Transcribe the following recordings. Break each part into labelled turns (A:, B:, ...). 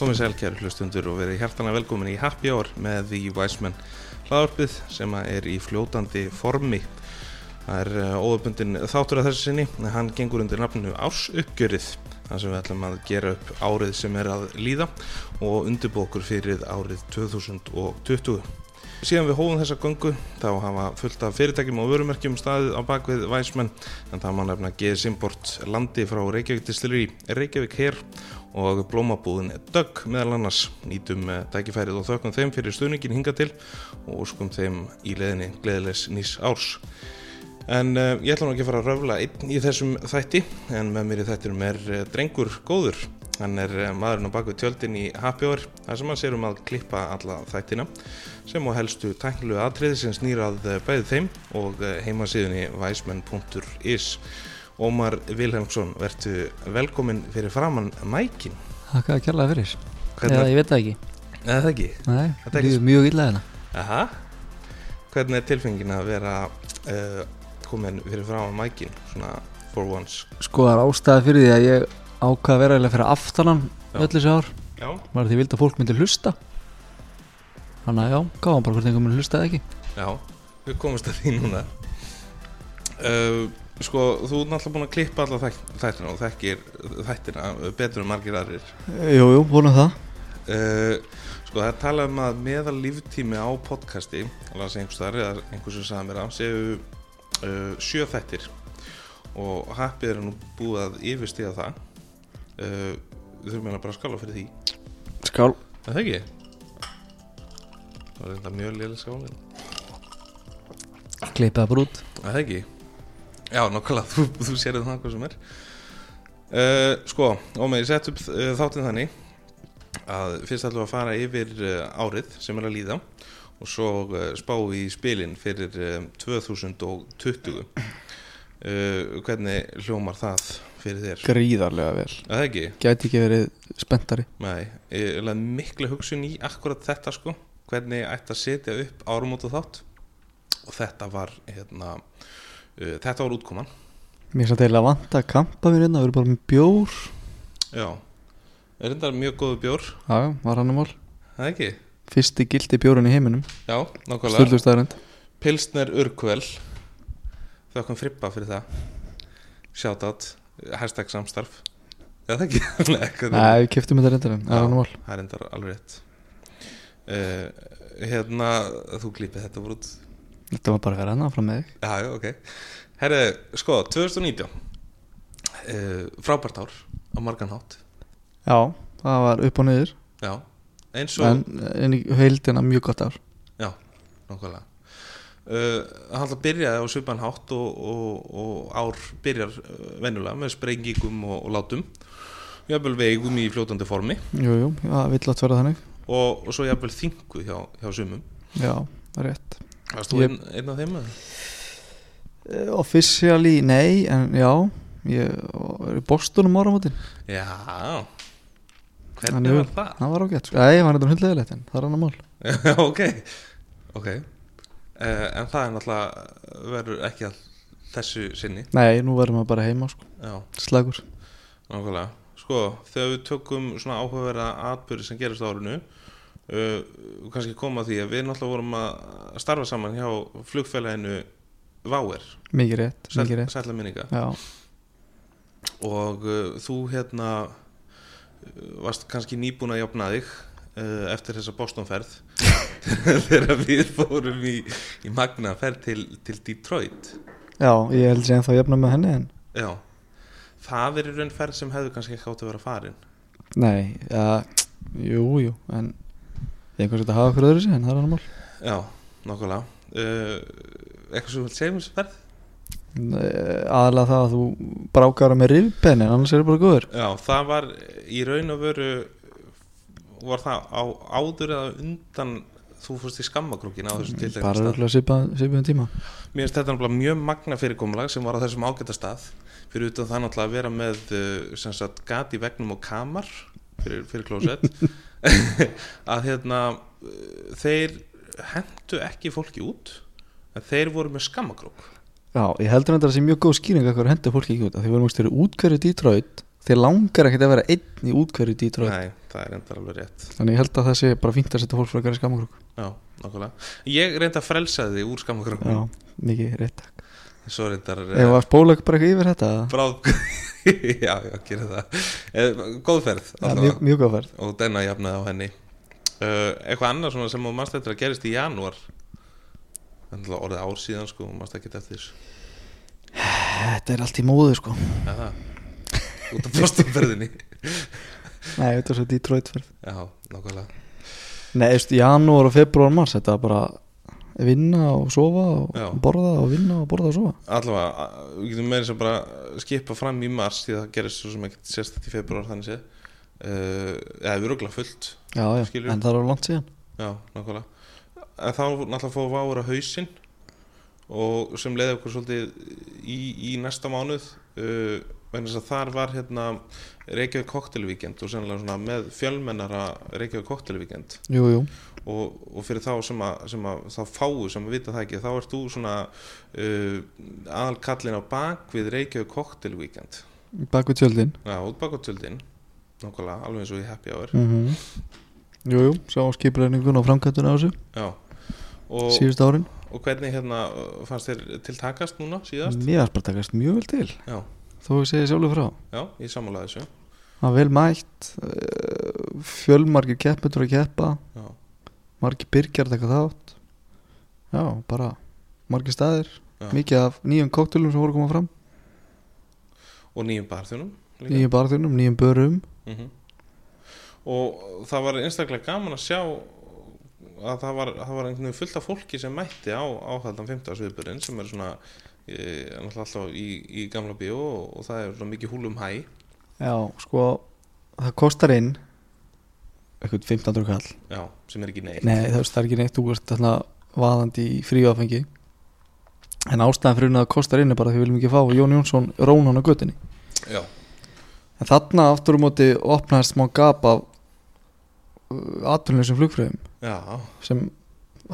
A: komið sæl kæri hlustundur og verið hjartanlega velkomin í Happy Hour með The Wiseman hlaðarpið sem að er í fljótandi formi. Það er eh, óöfbundin þáttur að þessu sinni, en hann gengur undir nafninu Ársuppgjörið, þar sem við ætlum að gera upp árið sem er að líða og undirbókur fyrir árið 2020. Síðan við hóðum þessa göngu þá hafa fullt af fyrirtækjum og vörumerkjum staðið á bakvið Væsmenn en það má nefna GS Import landi frá Reykjavík Distillery, Reykjavík Her og blómabúðin Dögg meðal annars. Nýtum eh, tækifærið og þökkum þeim fyrir stuðningin hinga til og skum þeim í leðinni gleðilegs nýs árs. En uh, ég ætla nú ekki að fara að röfla einn í þessum þætti en með mér í þættinum er uh, drengur góður. Hann er uh, maðurinn á baku tjöldin í Happy Hour þar sem hann sér um að klippa alla þættina sem og helstu tæknilu atriði sem snýrað uh, bæði þeim og uh, heimasíðunni væsmenn.is. Ómar Vilhelmsson, vertu velkomin fyrir framann mækin.
B: Takk að kjærlega fyrir Eða
A: Hvernig,
B: ég veit það ekki
A: eða það ekki?
B: Nei,
A: Þetta er ekki
B: líður mjög illa hérna
A: Aha. Hvernig er tilfengin að vera uh, komin fyrir framann mækin, svona for once?
B: Sko það er ástæða fyrir því að ég ákvað að vera eiginlega fyrir aftanan
A: Já.
B: öll þessi ár
A: Já.
B: Var því ég vildi að fólk myndi hlusta Þannig að já, gáðan bara hvort einhver myndi hlusta eða ekki
A: Já, við komumst að því núna uh, Sko, þú er náttúrulega búin að klippa alla þætt, þættina og þekkir þættina betur en margir aðrir
B: Jú, jú, vonum það
A: uh, Sko, það er talað um að meðal líftími á podcasti alveg sem einhvers þar, eða einhvers sem sagði mér á séu uh, sjö þættir og happy er nú búið að yfirstíða það uh, Við þurfum eiginlega bara að skála fyrir því
B: Skál
A: Er Það ekki? Það er þetta mjög lélega skálin
B: Kleipa það bara út
A: Er Það ekki? Já, nokkala, þú, þú sér það hvað sem er uh, Sko, Ómi, ég sett upp uh, þáttinn þannig að fyrst ætlum við að fara yfir uh, árið sem er að líða og svo uh, spá í spilin fyrir uh, 2020 uh, Eh, Hvernig hljómar það fyrir þér?
C: gríðarlega vel
A: Er Það ekki?
C: gæti ekki verið spenntari
A: Nei, ég er miklu hugsun í akkurat þetta sko, hvernig ég ætti að setja upp árumótu þátt og þetta var hérna, uh, þetta var útkoman
C: mér er samt eiginlega vant að kampa mér hérna við erum bara með bjór
A: Já, er þetta mjög góðu bjór,
C: já, já, var hann að mál
A: það ekki?
C: fyrsti gildi bjórun í heiminum
A: Já, nákvæmlega.
C: stöldustæðarend
A: Pilsner Urkvel, þökkum frippa fyrir það. Shoutout, hashtag samstarf. Já, það ekki, Nei, hvernig-
C: nei, við keftum þetta reyndar en það
A: Já,
C: var hann að mál
A: það er endar alveg rétt. Uh, hérna, þú klípið þetta bara út.
C: þetta var bara að vera hérna fram með þig
A: Já, já, ok. Herre, sko, 2019, uh, frábært ár á margan hátt.
C: já, það var upp og niður
A: Já, eins og...
C: en, en í heildina mjög gott ár
A: Já, nákvæmlega Uh, hann ætla að byrja á svipan hátt og, og, og ár byrjar uh, venjulega með sprengingum og, og látum jafnvel veigum í fljótandi formi
C: jú, jú, það vill átt vera þannig
A: og, og svo jafnvel þingu hjá, hjá sumum
C: já, rétt
A: Varst þú
C: Ég-
A: einn, einn af þeim? eða?
C: uh, officially, nei, en já ég er í bóstunum áramótin
A: Já
C: Hann
A: Hvernig
C: er-
A: var það?
C: það var ágætt, sko. nei, hann er þetta hundlegilegt en það er hann að mál
A: Já, ok, okay. Uh, En það er náttúrulega verður ekki að þessu sinni
C: nei, nú verðum við bara heima, sko,
A: Já
C: slagur
A: Nákvæmlega, sko, þegar við tökum svona áhugaverða atbyrði sem gerist á árinu uh, kannski koma að því að við náttúrulega vorum að starfa saman hjá flugfélaginu Váer,
C: Mikið rétt,
A: sæl-
C: mikið rétt
A: sælla minninga
C: Já,
A: og uh, þú hérna uh, varst kannski nýbúin að jafna þig uh, eftir þessa Bostonferð þegar við fórum í, í magna ferð til, til Detroit
C: já ég held sér ennþá jafna með henni en
A: Já, það er í raun ferð sem hefðu kannski ekki átt að vera farin
C: Nei, ja, jú, jú En ég einhvers veit að hafa okkur öðru sér en það er hann mál
A: Já, nákvæmlega uh, Eitthvað sem þú vilt segja um þessu ferð?
C: Nei, Aðalega eh, það að þú brákar með rifbeinin, annars er það bara góður
A: Já, það var í raun og veru var það á, áður eða undan þú fórst í skammakrúkin á þessu tiltekna
C: Bara
A: stað
C: röglega svipaðum tíma
A: Mér finnst þetta náttúrulega mjög magna fyrirkomulag sem var á þessum ágæta stað fyrir utan það náttúrulega að vera með uh, sem sagt gat í vegnum og kamar fyrir, fyrir klósett að hérna uh, þeir hendu ekki fólki út en þeir voru með skammakrúk
C: Já, ég heldur þetta að það sé mjög góð skýring að hverju hendur fólki ekki út af Því við erum ekki styrri útkverju Detroit Þeir langar ekkert að vera einn í útkverju Detroit
A: Nei, það er endar alveg rétt
C: Þannig ég held að það sé bara fínt að setja fólk frekar í skamakrúk
A: Já, nokkulega. Ég reynda að frelsa þig úr
C: Já,
A: skammakrökkum
C: mikið rétt
A: Svo reyndar eh,
C: Ef að spóla bara eitthvað yfir þetta eða?
A: bráð Já, já, gera það eh, Góðferð
C: Já,
A: allavega.
C: mjög, mjög góðferð
A: og denna jafnaði á henni uh, Eitthvað annað svona sem á mannst eftir að gerist í janúar Þannig að orðið ár síðan sko, mannst ekki eftir þessu
C: Þetta er allt í móðu sko
A: Já, það Út af postumferðinni
C: Nei, þetta er svo Detroit ferð
A: Já, nákvæmlega
C: Nei, eftir janúar og februar mars Þetta er bara vinna og sofa og
A: Já.
C: borða og vinna og borða og sofa
A: Allavega, að- eh, við getum meira sem bara skipa fram í mars Því að það gerist svo sem ekkert sérstætt í februar þannig séð uh, Eða við rögla fullt
C: Já, já,
A: Skilurðu?
C: en það er á langt síðan
A: Já, nákvæmlega En þá náttúrulega fóðu váur á hausinn og sem leiði okkur svolítið í, í næsta mánuð uh, vegna þess að þar var hérna Reykjavík koktelvíkend og sennilega svona með fjölmennara Reykjavík koktelvíkend
C: Jú, jú,
A: og, og fyrir þá sem að, sem að þá fáu sem að vita það ekki þá ert þú svona uh, aðalkallin á bak við Reykjavík koktelvíkend
C: bak við tjöldin
A: Já, út bak á tjöldin nákvæmlega, alveg eins og ég heppi á þér
C: -hmm. Jú, jú, sá skipulefningun og framkvæmtuna á þessu
A: Já og,
C: síðust árin
A: og hvernig hérna uh, fannst þér til takast núna síðast?
C: Mér varst bara að takast mjög vel til
A: Já,
C: þó ég segi sjálfur frá
A: já, ég sammála þessu
C: Það var vel mætt eh, fjölmargir keppendur að keppa
A: já.
C: margir byrgjar að taka þátt Já, bara margir staðir
A: Já.
C: mikið af nýjum kóktelum sem voru að koma fram
A: og nýjum barþjónum líka.
C: nýjum barðunum, nýjum börum
A: Mhm. og það var einstaklega gaman að sjá að það var, það var einhvern veginn fullt af fólki sem mætti á áhaldan 15. sviðburinn sem er svona e, náttúrulega alltaf í, í gamla bíó og, og það er svona mikið húlum hæ
C: Já, sko, það kostar inn eitthvað 1500 kall
A: já, sem er ekki neitt
C: Nei, það veist, það er ekki neitt, þú veist þarna vaðandi í fríafengi en ástæðan fyrir hún að það kostar inn er bara því við viljum ekki fá Jón Jónsson rónan á göttinni
A: já,
C: En þarna aftur á móti opnaðist smá gap af aðtunleysum flugfröðum
A: já,
C: sem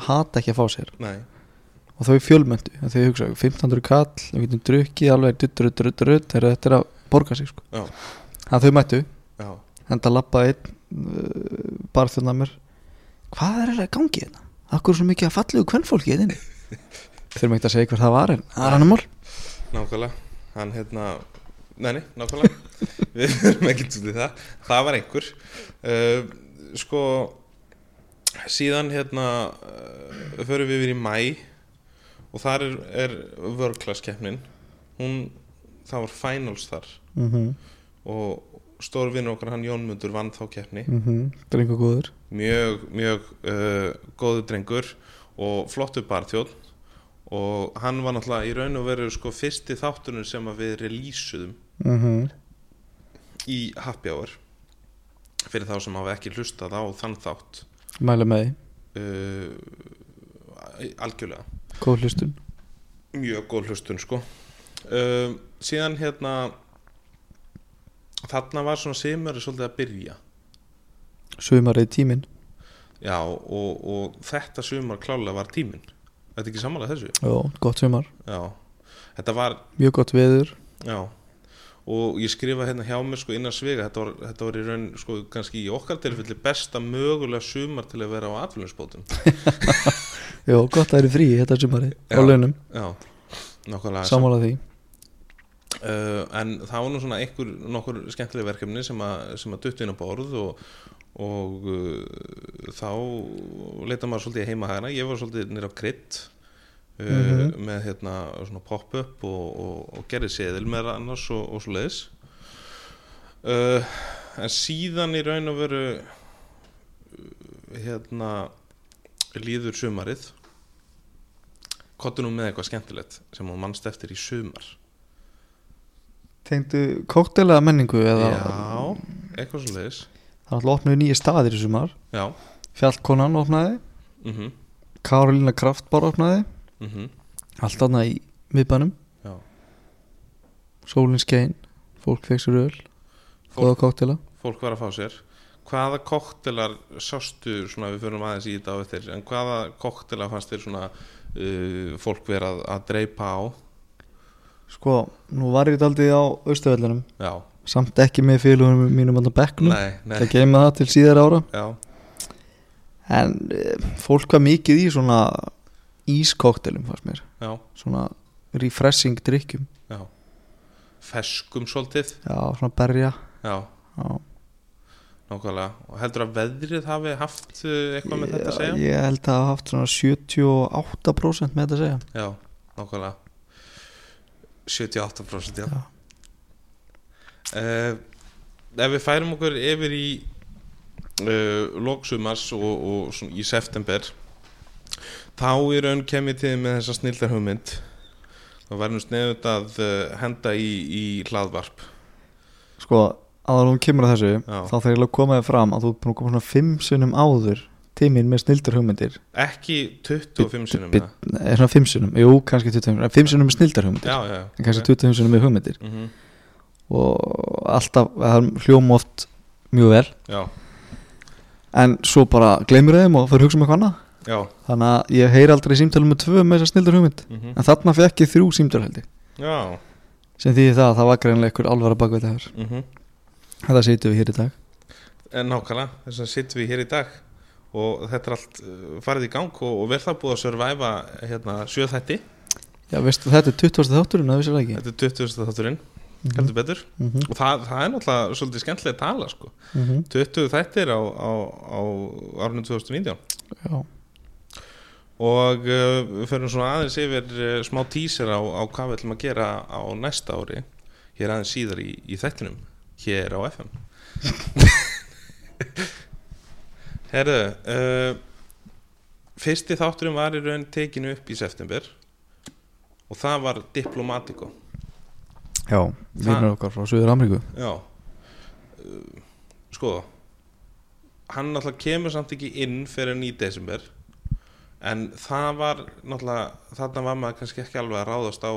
C: hata ekki að fá sér
A: nei
C: og þau fjölmöndu, en þau hugsa 1500 kall, við getum drukkið alveg dutt, dutt, dutt, þegar þetta er að borga sig sko.
A: Já.
C: en þau mættu,
A: já,
C: en það lappaði einn uh, barþjóðna mér hvað er þetta gangi hérna? Akkur er svo mikið að fallegu kvennfólki hérna þurfum ekki að segja hver það var en það er annar mál
A: nákvæmlega hann hérna Nei, nei, nákvæmlega Við erum ekki til það Það var einhver uh, Sko Síðan hérna uh, Förum við yfir í mæ Og þar er, er vörglaskeppnin Hún Það var finals þar
C: mm -hmm.
A: Og stór vinnur okkar hann Jónmundur vann þá keppni
C: mm -hmm. drengu góður
A: Mjög, mjög uh, góðu drengur Og flottu barþjóð Og hann var náttúrulega í raun og veru sko fyrsti þátturinn sem að við relýsuðum
C: mm -hmm.
A: í happy hour fyrir þá sem hafa ekki hlustað á þann þátt
C: mæla með því,
A: uh, algjörlega
C: góð hlustun
A: mjög góð hlustun sko uh, síðan hérna þarna var svona semur svolítið að byrja
C: sumarið tíminn
A: já og, og þetta sumar klálega var tíminn þetta er ekki samanlega þessu
C: Jó, gott sumar,
A: já þetta var
C: mjög gott veður
A: já og ég skrifa hérna hjá mér sko innan svega þetta var, þetta var í raun sko kannski í okkar tilfelli besta mögulega sumar til að vera á atvinninsbótum
C: Jó, gott að það eru frí þetta sumari
A: Já.
C: á launum,
A: Já, nákvæmlega
C: sammála því
A: uh, En það var nú svona einhver, nokkur skemmtileg verkefni sem að, sem að duttu inn á borð og, og uh, þá leita maður svolítið heima hægna Ég var svolítið nýr á krydd uh,
C: Mhm.
A: með hérna svona pop-up og, og, og gerði seðil með annars og, og svo leiðis uh, En síðan í raun og veru uh, hérna líður sumarið Kottu nú með eitthvað skemmtilegt sem hún mannst eftir í sumar
C: Tengdu kóktelega menningu eða
A: Já, eitthvað svo leiðis
C: Það er alltaf opnuðu nýja staðir í sumar
A: Já,
C: Fjallkonan opnaði,
A: mhm,
C: Karolina Kraftbar opnaði
A: mhm
C: Allt annað í miðbænum
A: Já.
C: Sólin skein, fólk fekk sér öl Góða
A: fólk,
C: kóktela
A: fólk var að fá sér Hvaða koktelar sástu svona við förum aðeins í þetta á eftir en hvaða koktelar fannst þér svona uh, fólk vera að, að dreipa á
C: Sko, nú var ég þetta aldrei á austuvellinum
A: Já,
C: samt ekki með félagunum mínum að bekknum,
A: Nei, nei,
C: það geima það til síðar ára
A: já,
C: en eh, fólk var mikið í svona ískoktelum fannst mér,
A: já,
C: svona refreshing drikkjum,
A: já Feskum svolítið
C: já, svona berja
A: Já,
C: já,
A: nákvæmlega Og heldur að veðrið hafi haft uh, eitthvað með þetta að segja?
C: ég, ég held að hafa haft svona 78% með þetta að segja
A: Já, nákvæmlega 78% já,
C: Já.
A: Uh, Ef við færum okkur yfir í uh, loksumars og, og svona í september þá í raun kem ég til þín með þessa snildarhugmynd og verðum sniðut að uh, henda í, í hlaðvarp
C: sko, að hún kemur að þessu
A: Já.
C: þá þarf ég eiginlega að koma þér fram að þú er búin að koma svona 5 sunnum áður tíminn með snildar hugmyndir
A: ekki 25 sinum
C: bit-
A: eða?
C: er svona 5 sunnum, jú, kannski 20 sunnum 5 sunnum með snildar hugmyndir,
A: Já, já,
C: en kannski 20 sunnum með hugmyndir
A: mm -hmm.
C: og alltaf, það hljóma oft mjög vel,
A: já,
C: en svo bara gleymur þeim og fyrir að hugsa um eitthvað annað
A: já
C: þannig að ég heyri aldrei símtælum með tvö með þessar snildar hugmynd
A: mm
C: en þarna fekk ég þrjú símtælhaldi
A: já
C: sem því það að það var greinlega einhver alvara bakveit það
A: mm
C: þetta setjum við hér í dag
A: En nákvæmlega, þess að sittum við hér í dag og þetta er allt uh, farið í gang og, og vel það búið að surviva hérna, sjöþætti,
C: Já, veistu, þetta er 20. þátturinn, að vissir það ekki
A: þetta er 20. þátturinn
C: Mhm. mhm.
A: heldur betur
C: mm -hmm.
A: og það, það er náttúrulega svolítið skemmtilega tala sko. 20 þættir á, á, á árunum 2019
C: Já,
A: og uh, við förum svona aðeins yfir uh, smá tísir á, á hvað við ætlum að gera á næsta ári hér aðeins síðar í, í þættinum hér á FM Herðu uh, fyrsti þátturinn var í raun tekinu upp í september og það var Diplomatico
C: já vinnur okkar frá Suður Ameríku
A: Já uh, Sko Hann náttúrulega kemur samt ekki inn fyrir en í desember En það var náttúrulega Þarna var maður kannski ekki alveg að ráðast á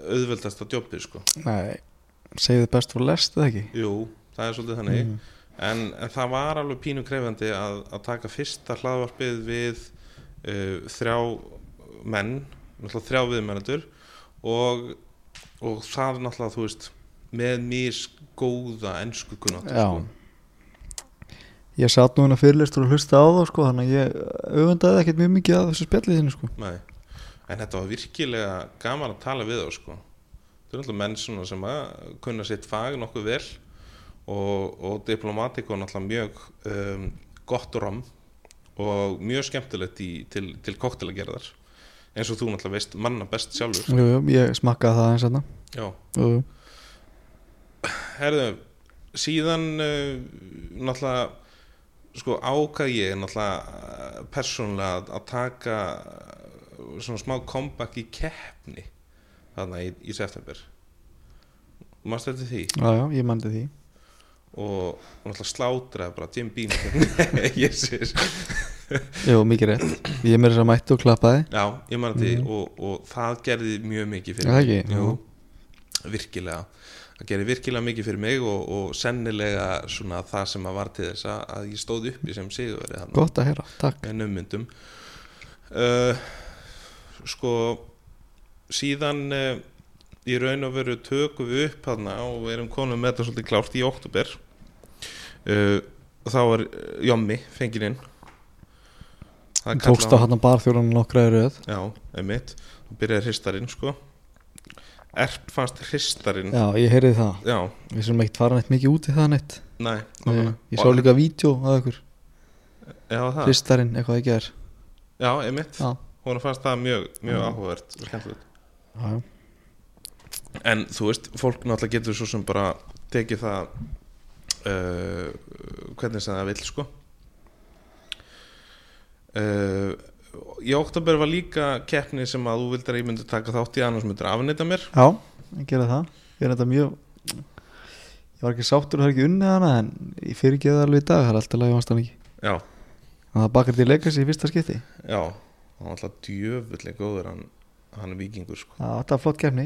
A: auðveldasta djópið sko
C: Nei, segið þið best for last eða ekki Mhm.
A: Jú, það er svolítið þannig
C: Mm.
A: en, en það var alveg pínu krefandi að, að taka fyrsta hlaðvarpið við uh, þrjá menn, náttúrulega þrjá viðmennendur og, og það er náttúrulega, þú veist, með misgóða ensku kunnáttu sko.
C: Ég satt núna fyrirlistur og hlusta á þá sko þannig að ég auðvendaði ekkert mjög mikið að þessu spjallið þínu sko
A: Nei. en þetta var virkilega gaman að tala við þá sko. þetta er náttúrulega menn svona sem að kunna sitt fag nokkuð vel og, og diplomatik og náttúrulega mjög um, gott rom og mjög skemmtilegt í, til, til koktelagerðar eins og þú náttúrulega veist manna best sjálfur
C: Jú, jú, ég smakkaði það hérna. eins og
A: Já.
C: þarna
A: Herðu, síðan uh, náttúrulega sko ákað ég náttúrulega eh, persónulega að- að taka uh, svona smá comeback í keppni þarna í, í september maður þetta því
C: Já, já, ég mandi því
A: og náttúrulega slátraði bara Jim Beam keppni. Jesus.
C: Jú, mikið rétt Ég er mér þess að segja mætti og klappaði
A: já, ég maður þetta því og, og það gerði mjög mikið fyrir
C: Mm. Er það ekki?
A: Jú, virkilega það gerði virkilega mikið fyrir mig og, og sennilega svona það sem að var til þess að, að ég stóð uppi sem sigurveri hann
C: Gott að heyra, takk
A: en ummyndum uh, sko síðan uh, í raun og veru tökum við upp hana og erum konum með þetta svolítið klárt í oktober uh, og þá er uh, Jommi fengið inn Það kallar
C: Tókst á hann barþjóran nokkra í röð
A: Já, einmitt og byrjaði hristarinn sko Erp fannst hristarinn
C: Já, ég heyrið það
A: Já,
C: Við sem ekkert fara neitt mikið út í það neitt
A: nei,
C: Nei,
A: nákvæmlega.
C: Ég sá
A: Og-
C: líka vídeo að ykkur
A: Já, það,
C: Hristarinn, eitthvað ekki er
A: já, einmitt
C: Já,
A: Hún fannst það mjög, mjög
C: Já.
A: áhugavert og skemmtilegt
C: já, já
A: En þú veist, fólk náttúrulega getur svo sem bara tekið það uh, hvernig sem það vill sko uh, Í oktober var líka keppni sem að þú vildir að ég myndi taka þátt í annars myndir afnýta mér
C: Já, ég gera það Ég er þetta mjög Ég var ekki sáttur og það er ekki unnið hana En ég fyrir ekki það alveg í dag Það er alltaf lagi vannst hann ekki
A: Já,
C: En það bakar til leikas í fyrsta skipti Já,
A: já, hann var alltaf djöfullega góður hann, hann er vikingur sko
C: þetta er flott kefni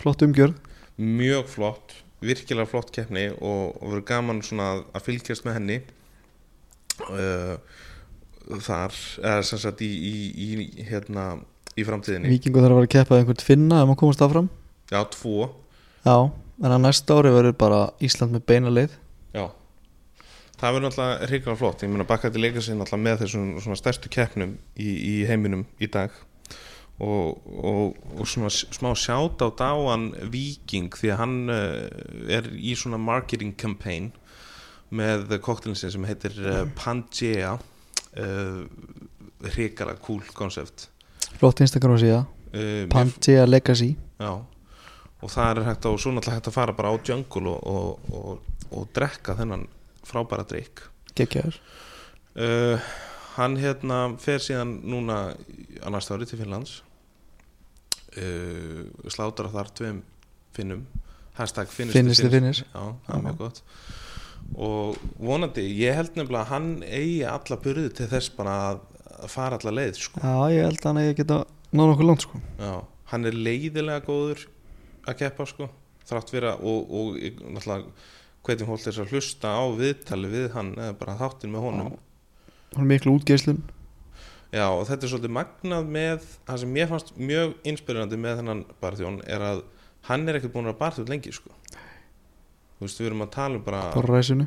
C: Flott umgjörð
A: Mjög flott, virkilega flott keppni og, og verður gaman svona að, að fylgjast með henni uh, þar, eða sem sagt í, í, í hérna í framtíðinni
C: Víkingur þarf að vera að keppa við einhvern finna Um að komast áfram
A: Já, tvo
C: Já, en að næsta ári verður bara Ísland með beina leið
A: Já Það verður náttúrulega hrikalega flott Ég meina bakka til leika sér náttúrulega með þessum svona stærstu keppnum í, í heiminum í dag og, og, og svona s- smá sjátt á dáan Viking því að hann uh, er í svona marketing campaign með koktelin sinn sem heitir uh, Pangea uh, hrikalega cool concept
C: flott Instagram síða,
A: uh,
C: Pangea Legacy
A: Já og það er hægt að, og svo náttúrulega hægt að fara bara á jungle og, og, og, og drekka þennan frábæra drikk
C: geggjaður,
A: uh, hann hérna fer síðan núna í- á næsta ári til Finnlands uh, slátar þar tveim finnum hashtag finnist
C: Finnist þið finnir.
A: já, það er mjög gott og vonandi, ég held nefnilega að hann eigi alla burði til þess bara að, að fara alla leið sko.
C: já ég held að hann eigi að geta náð nokkuð langt sko
A: já, hann er leiðilega góður að keppa sko þrátt fyrir að, og, og ég- náttúrulega hvetjum hóll þess að hlusta á viðtali við hann eða bara þáttinn með honum
C: hann er miklu útgeislun
A: Já og þetta er svolítið magnað með það sem mér fannst mjög inspirerandi með þennan barþjón er að hann er ekkert búin að barþjón lengi sko Þú veist við erum að tala um bara
C: bara ræsinu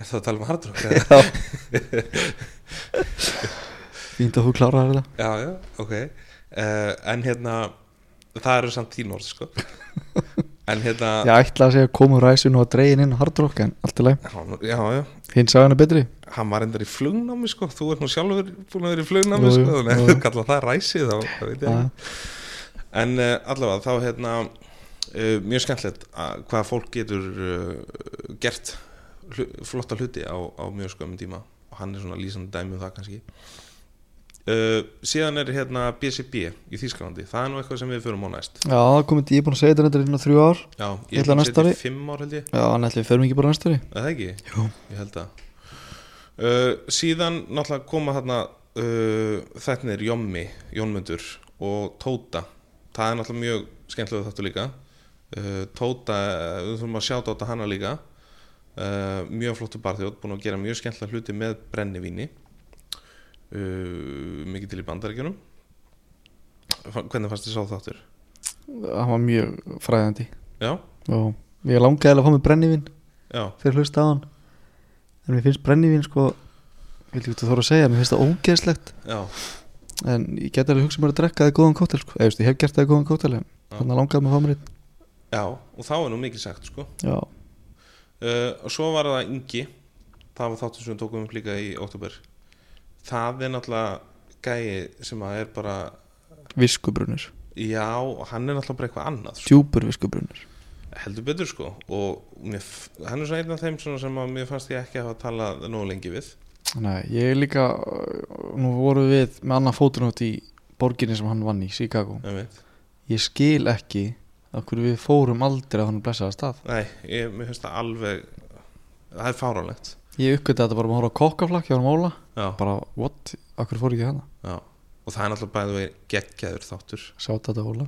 A: Er það að tala um hardrock? eða?
C: fínt að þú klárar þetta
A: já, já, ok uh, En hérna það eru samt þín orð sko En hérna
C: ég ætla að segja að komu ræsinu og að dregin inn hardrock en allt í lagi,
A: já, já, já.
C: hinn sagði hann er betri
A: hann var endar í flugnámi sko Þú ert nú sjálfur búin að vera í flugnámi
C: Jú, jú,
A: sko Þannig
C: jú,
A: að
C: jú.
A: þú kalla það ræsið þá, það veit ég ekki.
C: Já.
A: En uh, allavega þá hérna uh, mjög skemmtilegt að hvað fólk getur uh, gert hlu, flotta hluti á, á mjög skömmin tíma og hann er svona lýsandi dæmi um það kannski uh, síðan er hérna BCB í Þýskalandi, það er nú eitthvað sem við förum á næst
C: já, það komið, ég er búin að segja þetta reyndar innan þrjú ár
A: Já, ég
C: Ætla
A: er búin að
C: næsta
A: setja
C: ári?
A: í fimm ár held ég
C: já, hann ætli við förum ekki bara næsta ári
A: Er það ekki?
C: Jú.
A: Ég held að uh, Síðan náttúrulega koma þarna uh, þetta er Jommi, Jónmundur og Tóta Það er náttúrulega mjög skemmtilega þáttu líka uh, Tóta, uh, við þurfum að sjáta átta hana líka uh, Mjög flottu barþjóð, búin að gera mjög skemmtilega hluti með brennivíni uh, Mikið til í bandaríkjunum Fa- Hvernig fannst þið sá þáttur?
C: hann var mjög fræðandi
A: Já,
C: og ég langaði eiginlega að fá mig brennivinn
A: já
C: þegar hlusta á hann en mér finnst brennivín sko ég veit ekki hvað þú þarf að segja, mér finnst það ógeðslegt
A: Já,
C: en ég get alveg hugsað mér að drekka það í góðan kóttel sko. eða veist, ég hef gert það í góðan kóttel en
A: Já.
C: þannig langaði mig að fá mér einn
A: já, og þá er nú mikið sagt sko
C: já,
A: Uh, og svo var það Ingi það var þáttur sem við tókum upp líka í óttúber það er náttúrulega gæi sem að er bara
C: viskubrunur,
A: já, hann er náttúrulega bara eitthvað annað sko.
C: djúpur viskubrunur
A: heldur betur sko og mér, f- hann er svona einn af þeim svona sem að mér fannst ég ekki hafa talað nógu lengi við
C: Nei, ég líka uh, nú voru við með annað fótunótt í borginni sem hann vann í, Chicago
A: einmitt.
C: ég skil ekki af hverju við fórum aldrei á hann blessaða stað
A: nei, ég, mér finnst það alveg það er fáránlegt
C: ég uppgötaði þetta bara með að horfa á kokkaflakk hjá hann Óla
A: já,
C: bara, what, af hverju fór ég ekki hana
A: já. og það er náttúrulega bæðið veginn geggjaður þáttur
C: sjátt þetta Óla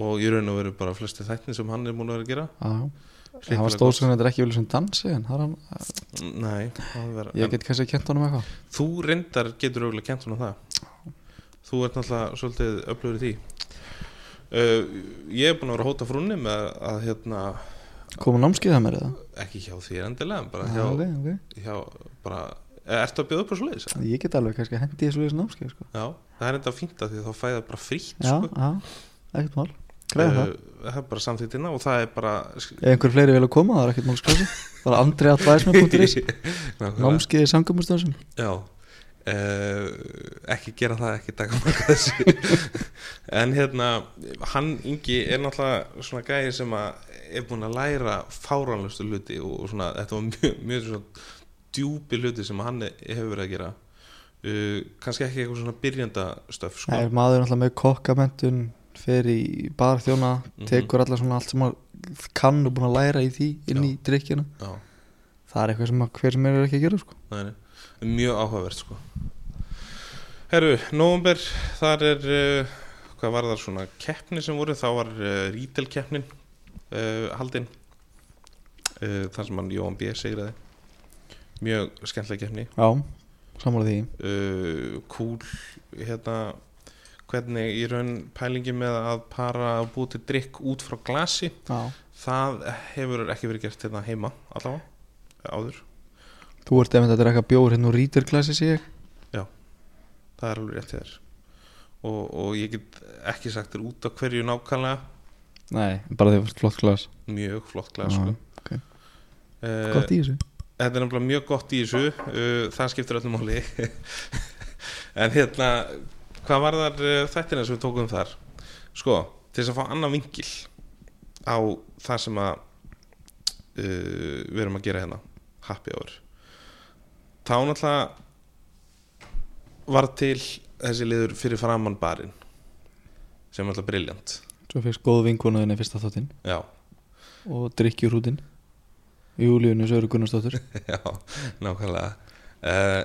A: og ég raun og veru bara flesti þættin sem hann er múin að vera að gera
C: Já,
A: Hrikalega
C: það var
A: gott.
C: stóð sem þetta er ekki vilja sem dansi en það er hann, eh,
A: nei, það vera,
C: ég get kannski kent honum eitthvað
A: Þú reyndar getur auðvitað kent hún á það Þú ert náttúrulega svolítið öflugur í því uh, Ég er búin að vera að hóta frúnni með að, að hérna,
C: Komum námskeið að mér eða?
A: ekki hjá þér endilega en bara
C: Já, ok,
A: hjá,
C: ok
A: hjá bara, eh, Ertu að bjóða upp á svoleiðis?
C: Ég get alveg kannski hendi þessu þessu námskeið sko.
A: Já, það er enda fínt að því þá fæða bara frítt
C: Já,
A: sko.
C: já, ekkert mál
A: Eh,
C: Greiða það
A: það er bara samþýttina og það er bara
C: Ef einhver fleiri vilja koma, það er ekkert mál skrási Bara andri atvæðismenn.is
A: Nákvæmlega.
C: Námskeið í samgömmustöðsum
A: Já uh, ekki gera það, ekki taka marka þessu en hérna hann Ingi er náttúrulega svona gæði sem að er búin að læra fáránlustu hluti og svona þetta var mjög, mjög svona djúpi hluti sem hann hefur verið að gera uh, kannski ekki eitthvað svona byrjandastöf sko.
C: Nei, maður er náttúrulega með kokkamentun fer í bar þjóna
A: Mhm.
C: tekur alla svona allt sem maður kann og búin að læra í því inn í drikkjuna
A: Já,
C: Það er eitthvað sem að hver sem er er ekki að gera sko.
A: það er mjög áhugavert sko. Herru, november þar er uh, hvað var það svona keppni sem voru þá var uh, rítel keppnin uh, haldin uh, þar sem hann Jóhann B. sigraði mjög skemmtileg keppni
C: Já, sammála því
A: uh, kúl Eh, hérna hvernig í raun pælingi með að para að búi til drikk út frá glasi
C: Já.
A: það hefur ekki verið gert hérna heima allavega, áður
C: Þú ert efinn að drekka bjór hérna úr ríturklasi sé ég
A: það er alveg rétt hjá þér og, og ég get ekki sagt þér út af hverju nákvæmlega
C: Nei, bara því að flott glas
A: mjög flott glas sko.
C: ok.
A: Eh,
C: Gott í þessu
A: þetta er nefnilega mjög gott í þessu uh, það skiptir öllum máli en hérna hvað var þar uh, þættina sem við tókum þar sko, til þess að fá annan vingil á það sem að uh, við erum að gera hérna happy hour þá náttúrulega var til þessi liður fyrir framann barinn sem er alltaf briljant
C: Svo fyrst góð vinkonuðinni fyrsta þáttinn
A: já,
C: og drikkjurhútin Júlíunni Söru Gunnarsdóttur
A: Já, nákvæmlega uh,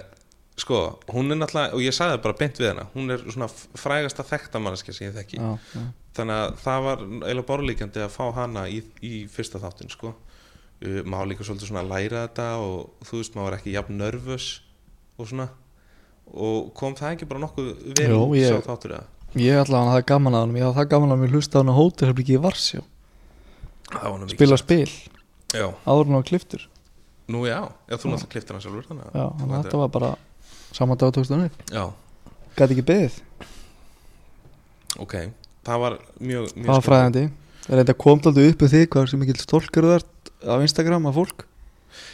A: Sko, hún er náttúrulega og ég sagði það bara beint við hana hún er svona f- frægasta þekktamanneska sem ég þekki
C: Já, já.
A: þannig að það var eiginlega borlíkandi að fá hana í, í fyrsta þáttin sko. uh, maður líka svolítið svona að læra þetta og þú veist, maður var ekki jafn nervös og svona og kom það ekki bara nokkuð vel
C: Jó,
A: út,
C: ég-
A: sá þáttur eða?
C: Ég ætla hann að það gaman að hann Ég hafði það gaman að mér hlusta á hann á hótel sem ekki í Varsjó
A: Það var nú mikið.
C: Spila spil,
A: Já,
C: áður hann á kliftur
A: nú já, já þú náttúrulega kliftir hann sjálfur þannig að-
C: Já, hann
A: þannig að
C: þetta var bara Saman dag tókst hann upp
A: Já,
C: Gæti ekki beðið,
A: ok, það var mjög, mjög
C: það var
A: skemmtilegt.
C: fræðandi Það er þetta komt aldrei upp um þig Hvað er sem mikill stólkur þú ert af Instagram af fólk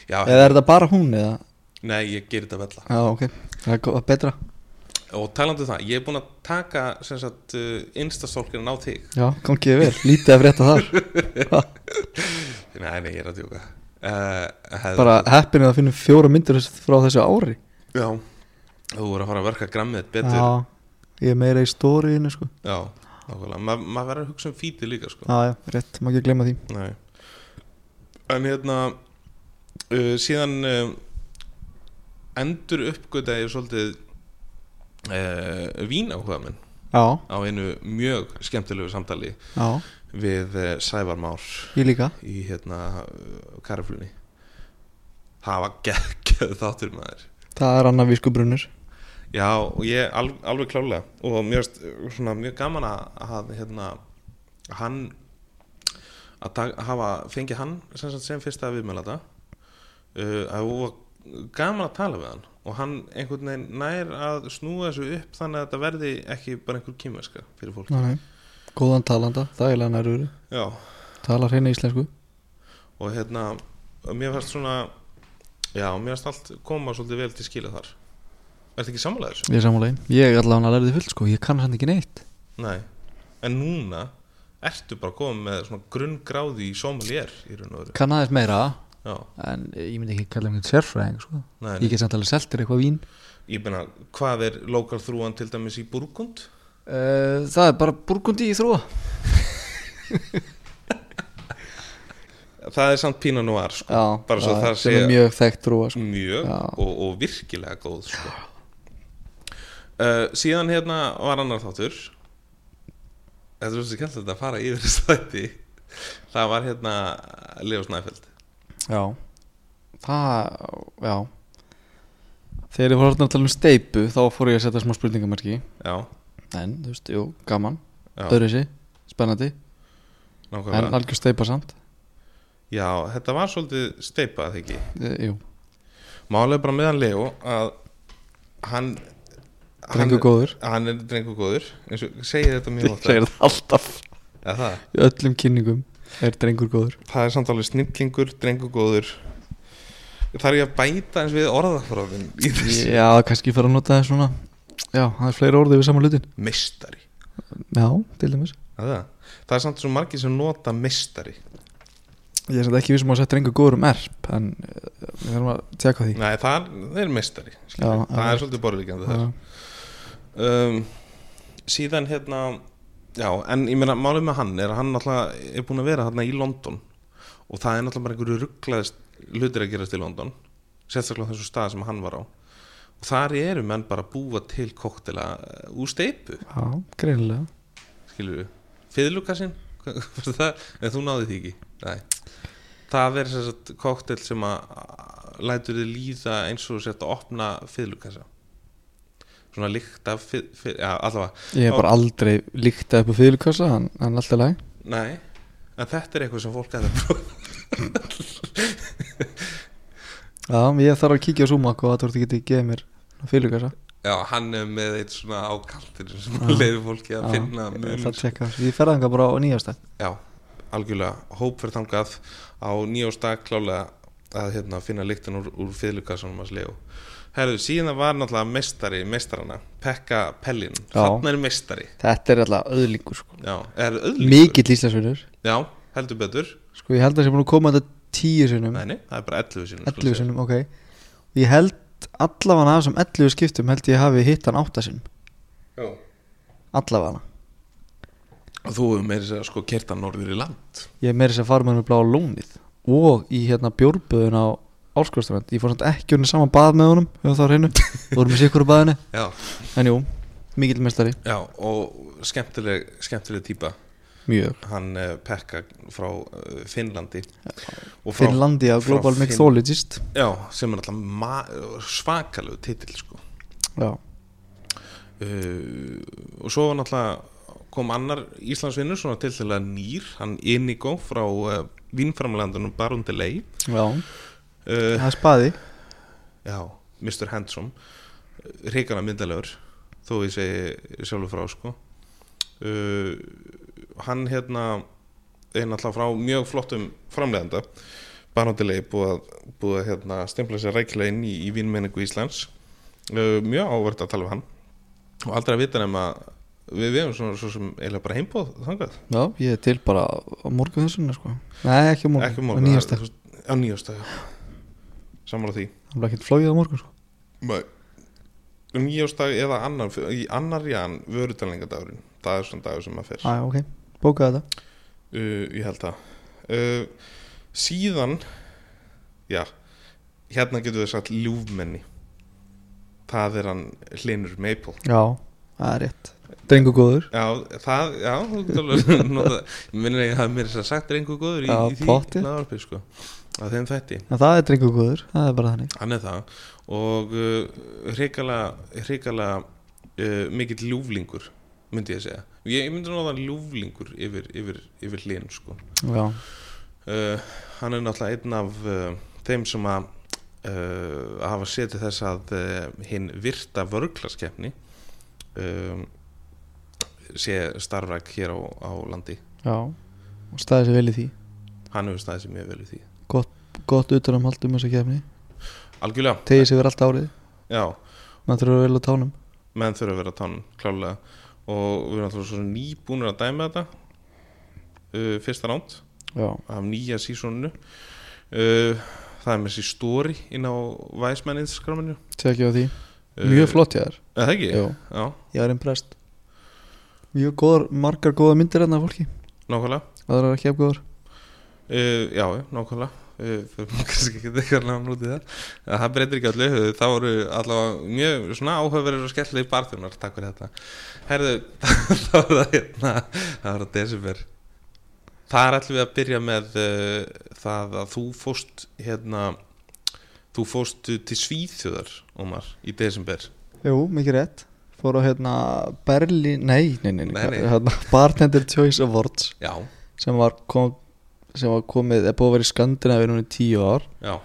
A: Já,
C: Eða er þetta bara hún eða
A: nei, ég gerir þetta vella
C: Já, ok, það er gott- betra
A: Og talandi um það, ég er búinn að taka sem sagt, uh, instastólkirinn á þig
C: Já, gangið vel, lítið að frétta þar
A: Nei, nei, ég er að djóka uh,
C: Bara heppin að finna fjóra myndir frá þessu ári
A: Já, þú voru að fara að verka grammið þitt betur Já,
C: Já, ég er meira í stóriðinu sko
A: nákvæmlega, Ma, maður verður að hugsa um fítið líka sko.
C: Já, já, rétt, má ekki gleyma því
A: Nei En hérna uh, síðan uh, endur uppgöta ég svolítið uh, vínáhuga minn
C: Já,
A: á einu mjög skemmtilegu samtali
C: já,
A: við uh, Sævar Már
C: ég líka
A: í hérna karflunni það var geggjöð þáttur maður
C: Það er annar vísku brunnur
A: já og ég al, alveg klálega og mjög, svona, mjög gaman að að, hérna hann að dag, hafa fengið hann sem, sagt, sem fyrsta viðmjölata uh, að hún var gaman að tala við hann og hann einhvern veginn nær að snúa þessu upp þannig að þetta verði ekki bara einhver kýmverska fyrir fólk
C: Nei. Góðan talanda, þægilega nærvöru
A: já
C: Talar hreina íslensku
A: og hérna mér fannst svona já, mér fannst allt koma svolítið vel til skila þar Ertu ekki samlega þessu?
C: Ég er sammálaðin Ég er allavega að lærði fullt sko, ég kann hann ekki neitt
A: Nei, en núna ertu bara komið með svona grunngráði í sommelier í raun og veru
C: Kann aðeins meira,
A: Já,
C: en ég myndi ekki kalla mig sérfræðing sko
A: nei,
C: Ég
A: nei.
C: get samt alveg seltir eitthvað vín
A: ég meina, hvað er lokal þrúan til dæmis í Burgund?
C: uh, Það er bara burgundi í þróa
A: Það er samt Pinot Noir sko.
C: Já,
A: Bara svo
C: já,
A: það
C: sem er
A: sé-
C: mjög þekkt þróa sko
A: mjög
C: Já.
A: og, og virkilega góð sko. uh, síðan hérna var annar þáttur þetta er svo skemmtilegt að fara yfir þessu þætti það var hérna Leo Snæfeld
C: Já Það, já Þegar ég fór að tala um steipu þá fór ég að setja smá spurningamarki
A: já,
C: En, þú veist, jú, gaman,
A: já,
C: öðruvísi, spennandi En
A: nákvæmlega
C: algjör steipa samt
A: já, þetta var svolítið steipað ekki
C: Eh, Jú,
A: málega bara meðan Leo að hann
C: drengu
A: hann,
C: góður
A: hann er drengu góður eins og segir þetta mjög
C: Ég segir það alltaf
A: ja, það
C: Í öllum kynningum er drengur góður
A: það er samt alveg snillingur, drengugóður þarf ég að bæta eins við orðafráðin í þessu
C: Já, kannski fara að nota það svona Já, það er fleiri orðið við saman hlutin
A: meistari
C: Já, til dæmis
A: það er, það. það er samt svo margir sem nota meistari
C: Ég er samt ekki vissum að setja drengur góður um erp En eh, við þurfum að tjekka því
A: Nei, það er, það er meistari já,
C: Já,
A: það
C: alveg.
A: er svolítið borðlíkjandi
C: Já,
A: þar um, síðan hérna já, en ég meina málið með hann er að hann náttúrulega er búin að vera hérna í London og það er náttúrulega bara einhverju rugglaðist hlutir að gerast í London sérstaklega á þessu stað sem hann var á og þar eru menn bara að búa til koktela úr steipu
C: já greinilega
A: skilur við, fiðlukassinn en þú náði því ekki Nei. það er þess að koktel sem að lætur þið líða eins og sett að opna fiðlukassa svona líkt af fyr, fyr, ja, allavega,
C: Ég hef bara aldrei líktað upp á fyrirkassa hann, hann er alltaf læg
A: nei en þetta er eitthvað sem fólk að það prófa
C: Já, ég þarf að kíkja á Sumak og að þú ert ekki að gefa mér fyrirkassa
A: já, hann er með eitt svona ákaldinu sem ah, leiður fólki að finna
C: Ég
A: mun
C: þarf að checka þessu. Ég ferða þangað bara á nýjasta
A: já, algjörlega hópferð þangað á nýjóstag klálega að hérna, finna líktin úr, úr fyrirlukassanum hans legu Herðu, síðan það var náttúrulega mestari, mestarana, Pekka Pellin,
C: Já.
A: þarna er mestari,
C: Þetta er alltaf öðlingur sko
A: já, er öðlingur,
C: Mikill íslensvinnur
A: já, heldur betur,
C: Sko ég held að það sé búin að koma þetta tíu sinnum
A: nei, nei, það er bara sko. 11 sinum,
C: 11 sinnum, ok Ég held allavega af þessum 11 skiptum held ég hafi hitt hann 8 sinnum
A: já,
C: Allavega
A: og þú hefur meira sér að sko kerta norður í land,
C: Ég er meira þess að fara með hann upp á lónið og í hérna bjórböðun á Árskurstrand Ég fór samt ekki unni saman bað með honum ef það var hreinu Þú vorum í sikkur á baðinu
A: já,
C: En jú, mikill mestari
A: já, og skemmtileg, skemmtileg típa,
C: Mjög
A: hann eh, Pekka frá eh, Finnlandi, og frá
C: Finnlandia
A: frá
C: Global
A: Finn-
C: Mixologist
A: Já, sem er alltaf svakalegu titill sko.
C: Já,
A: uh, og svo var náttúrulega kom annar Íslandsvinnur svona til til að nýr, hann Inigo frá uh, vinnframlandunum Baron Delay
C: já
A: uh,
C: Það er spaði
A: Já, Mr. Handsome reikana myndalegur þó ég segi sjálfur frá sko uh, hann hérna er náttúrulega frá mjög flottum framleganda Baróndilegi búið að, búið að hérna, stempla sér rækilega inn í, í vinnmenningu Íslands uh, mjög ávert að tala um hann og aldrei að vita nema við við erum svona svo sem eiginlega bara heimbóð þangað
C: Já, ég er til bara á morgun þessuna sko Nei, ekki á morgun,
A: ekki
C: á
A: morgun
C: nýjasta
A: það- þú veist, á nýjasta já. samar á því
C: Það er ekkert flóið á morgun sko
A: Nei Nýjóstag Um eða annar, í annar ján vörutalningadagurinn, það er svona dagur sem maður fer uh,
C: Æ, ok, bókaði þetta
A: ég held það uh, síðan já, hérna getur við sagt ljúfmenni það er hann Hlinur Maple
C: Já, það er rétt Drengu góður
A: já, það, já þú ert alveg að nota- minnir ég að það er mér þess að sagt reyngu góður í,
C: Já,
A: í því
C: pottið.
A: lagarpi sko, að þeim þætti
C: En það er drengu góður, það er bara þannig
A: hann er það og uh, hrikala hrikala uh, mikill ljúflingur myndi ég að segja ég, ég myndi náða ljúflingur yfir, yfir, yfir hlinn sko.
C: Já,
A: uh, hann er náttúrulega einn af uh, þeim sem að uh, hafa setið þess að uh, hinn virta vörglaskeppni um, sé starfræk hér á, á landi
C: já Og staði sér vel í því
A: hann hefur staðið sér mjög vel við því
C: Gott utanumhald um þessa kefni
A: algjörlega,
C: Tegið sér verið allt árið
A: já
C: Maður þurfa að vera vel á tánum
A: menn þurfa að vera á tánum klálega og við erum alltaf svo nýbúnir að dæma þetta uh, fyrsta ránt
C: Já,
A: af nýja sísoninu uh, það er með sér stóri inn á væsmenn Instagraminu
C: tekið á því
A: uh,
C: Mjög flott ég þær
A: er það ekki?
C: Jú.
A: já,
C: Ég er impressed Mjög góðar, margar góða myndir hérna af fólki
A: nákvæmlega
C: Það er ekki efgóður
A: uh, já, já, nákvæmlega Uh, fyrir maður kannski ekki eitthvað náðan út í það En það breytir ekki allir það voru allavega mjög svona áhauverið og skellir í barþjónar, takk fyrir þetta herðu, þá er það hérna það var að desember þar ætlum við að byrja með uh, það að þú fóst hérna þú fóst til Svíþjóðar, Ómar, í desember
C: Jú, mikið rétt Fór á hérna Berlín, nei, nei, nei, nei,
A: Nei, nei.
C: Hérna, Bartender Choice Awards
A: já,
C: sem var, kom, sem var komið er búið að vera í Skandinavi núna í tíu ár
A: já,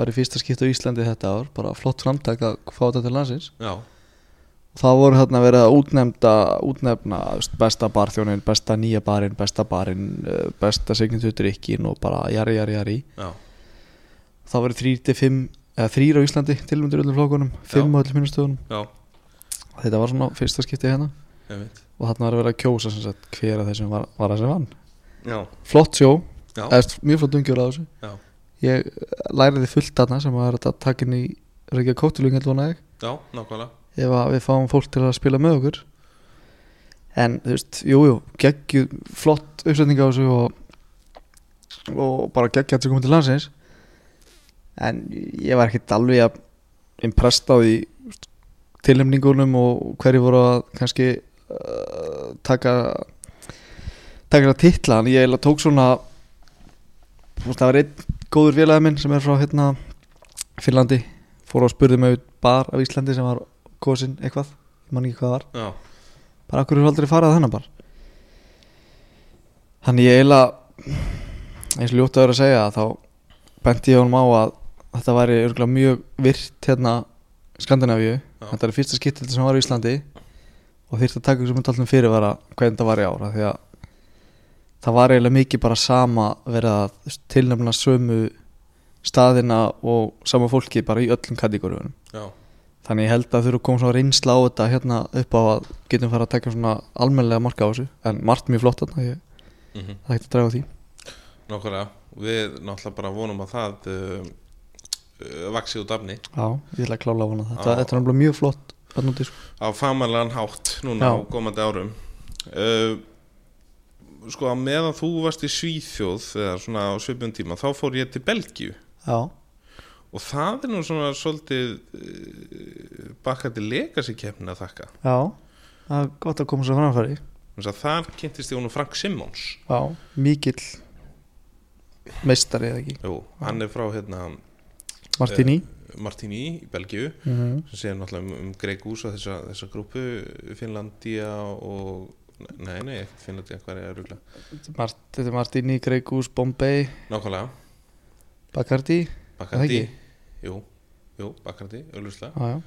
C: var í fyrsta skipt á Íslandi þetta ár bara flott framtak að fá þetta til landsins
A: já
C: það voru hérna verið að útnefnda útnefna þú veist, besta barþjónin, besta nýja barinn besta barinn, eh, besta signindu drikkin og bara jari, jari, jari
A: já,
C: það voru þrýr til fimm eða þrýr á Íslandi, tilmyndir öllum flokkunum fimm á öllum minnustöðunum
A: já,
C: þetta var svona fyrsta skipti hérna
A: ég veit
C: og þarna var að vera að kjósa sem sagt, hver af þessum var, var að sem vann
A: já,
C: flott sjó,
A: já,
C: eðst, mjög flott umgjör á þessu
A: Já.
C: ég læriði fullt þarna sem var þetta takin í hérna Reykja Kóttilung allan að
A: já, nákvæmlega
C: ég ef að við fáum fólk til að spila með okkur en þú veist, jújú jú, geggju, flott uppsetning á þessu og, og bara geggja að komið til landsins en ég var ekkert alveg að impressed á því þú veist, tilnefningunum og hverju voru að kannski uh, taka taka það titla en ég eiginlega tók svona þú veist, það var einn góður félagi minn sem er frá hérna Finnlandi fór og spurði mig út bar af Íslandi sem var kosin eitthvað, ég man ekki hvað það var
A: Já,
C: bara akkur eru aldrei farað þennan bara þannig ég eiginlega eins og ljótt að vera að segja þá benti ég honum á að þetta væri örgulega mjög virt hérna Skandinavíu,
A: Já.
C: þetta er fyrsta skiptild sem var í Íslandi og þyrfti að taka þessum allum fyrirvara hvernig þetta var í ára því að það var eiginlega mikið bara sama verið að þú veist, tilnefna sömu staðina og sama fólki bara í öllum kategóriunum
A: já,
C: Þannig ég held að þurfa að koma svona reynsla á þetta hérna upp á að getum fara að taka svona almennilega marka á þessu en margt mjög flott þarna, ég
A: mhm
C: það er ekkert að draga á því
A: Nákvæmlega, við náttúrulega bara vonum að það uh, uh, vaksi út afni
C: Já, ég ætla að klála á hana
A: Já.
C: þetta, þetta er náttúrulega mjög flott þarna úti, sko.
A: á famanlegan hátt núna
C: Já.
A: á komandi árum uh, Sko að meðan þú varst í Svíþjóð eða svona á svipum tíma þá fór ég til Belgíu
C: Já,
A: og það er nú svona svolítið uh, bakka til legacy keppni að þakka
C: já það er gott að koma svo framfæri
A: Þannig að þar kynntist ég honum Frank Simmons
C: Já, mikill meistari eða ekki
A: Jú, hann er frá hérna
C: Martini
A: Martini í Belgíu
C: uh, mm -hmm.
A: sem segir náttúrulega um, um Greg Hús og þessa, þessa grúpu Finnlandia og nei, nei, ekkert Finnlandia, hvað er rúgla
C: Mart, Þetta er Martini, Gregus, Bombay
A: nákvæmlega,
C: Bacardi
A: Bacardi
C: Er það
A: jú, jú, Bacardi, auðvitað
C: Já, já,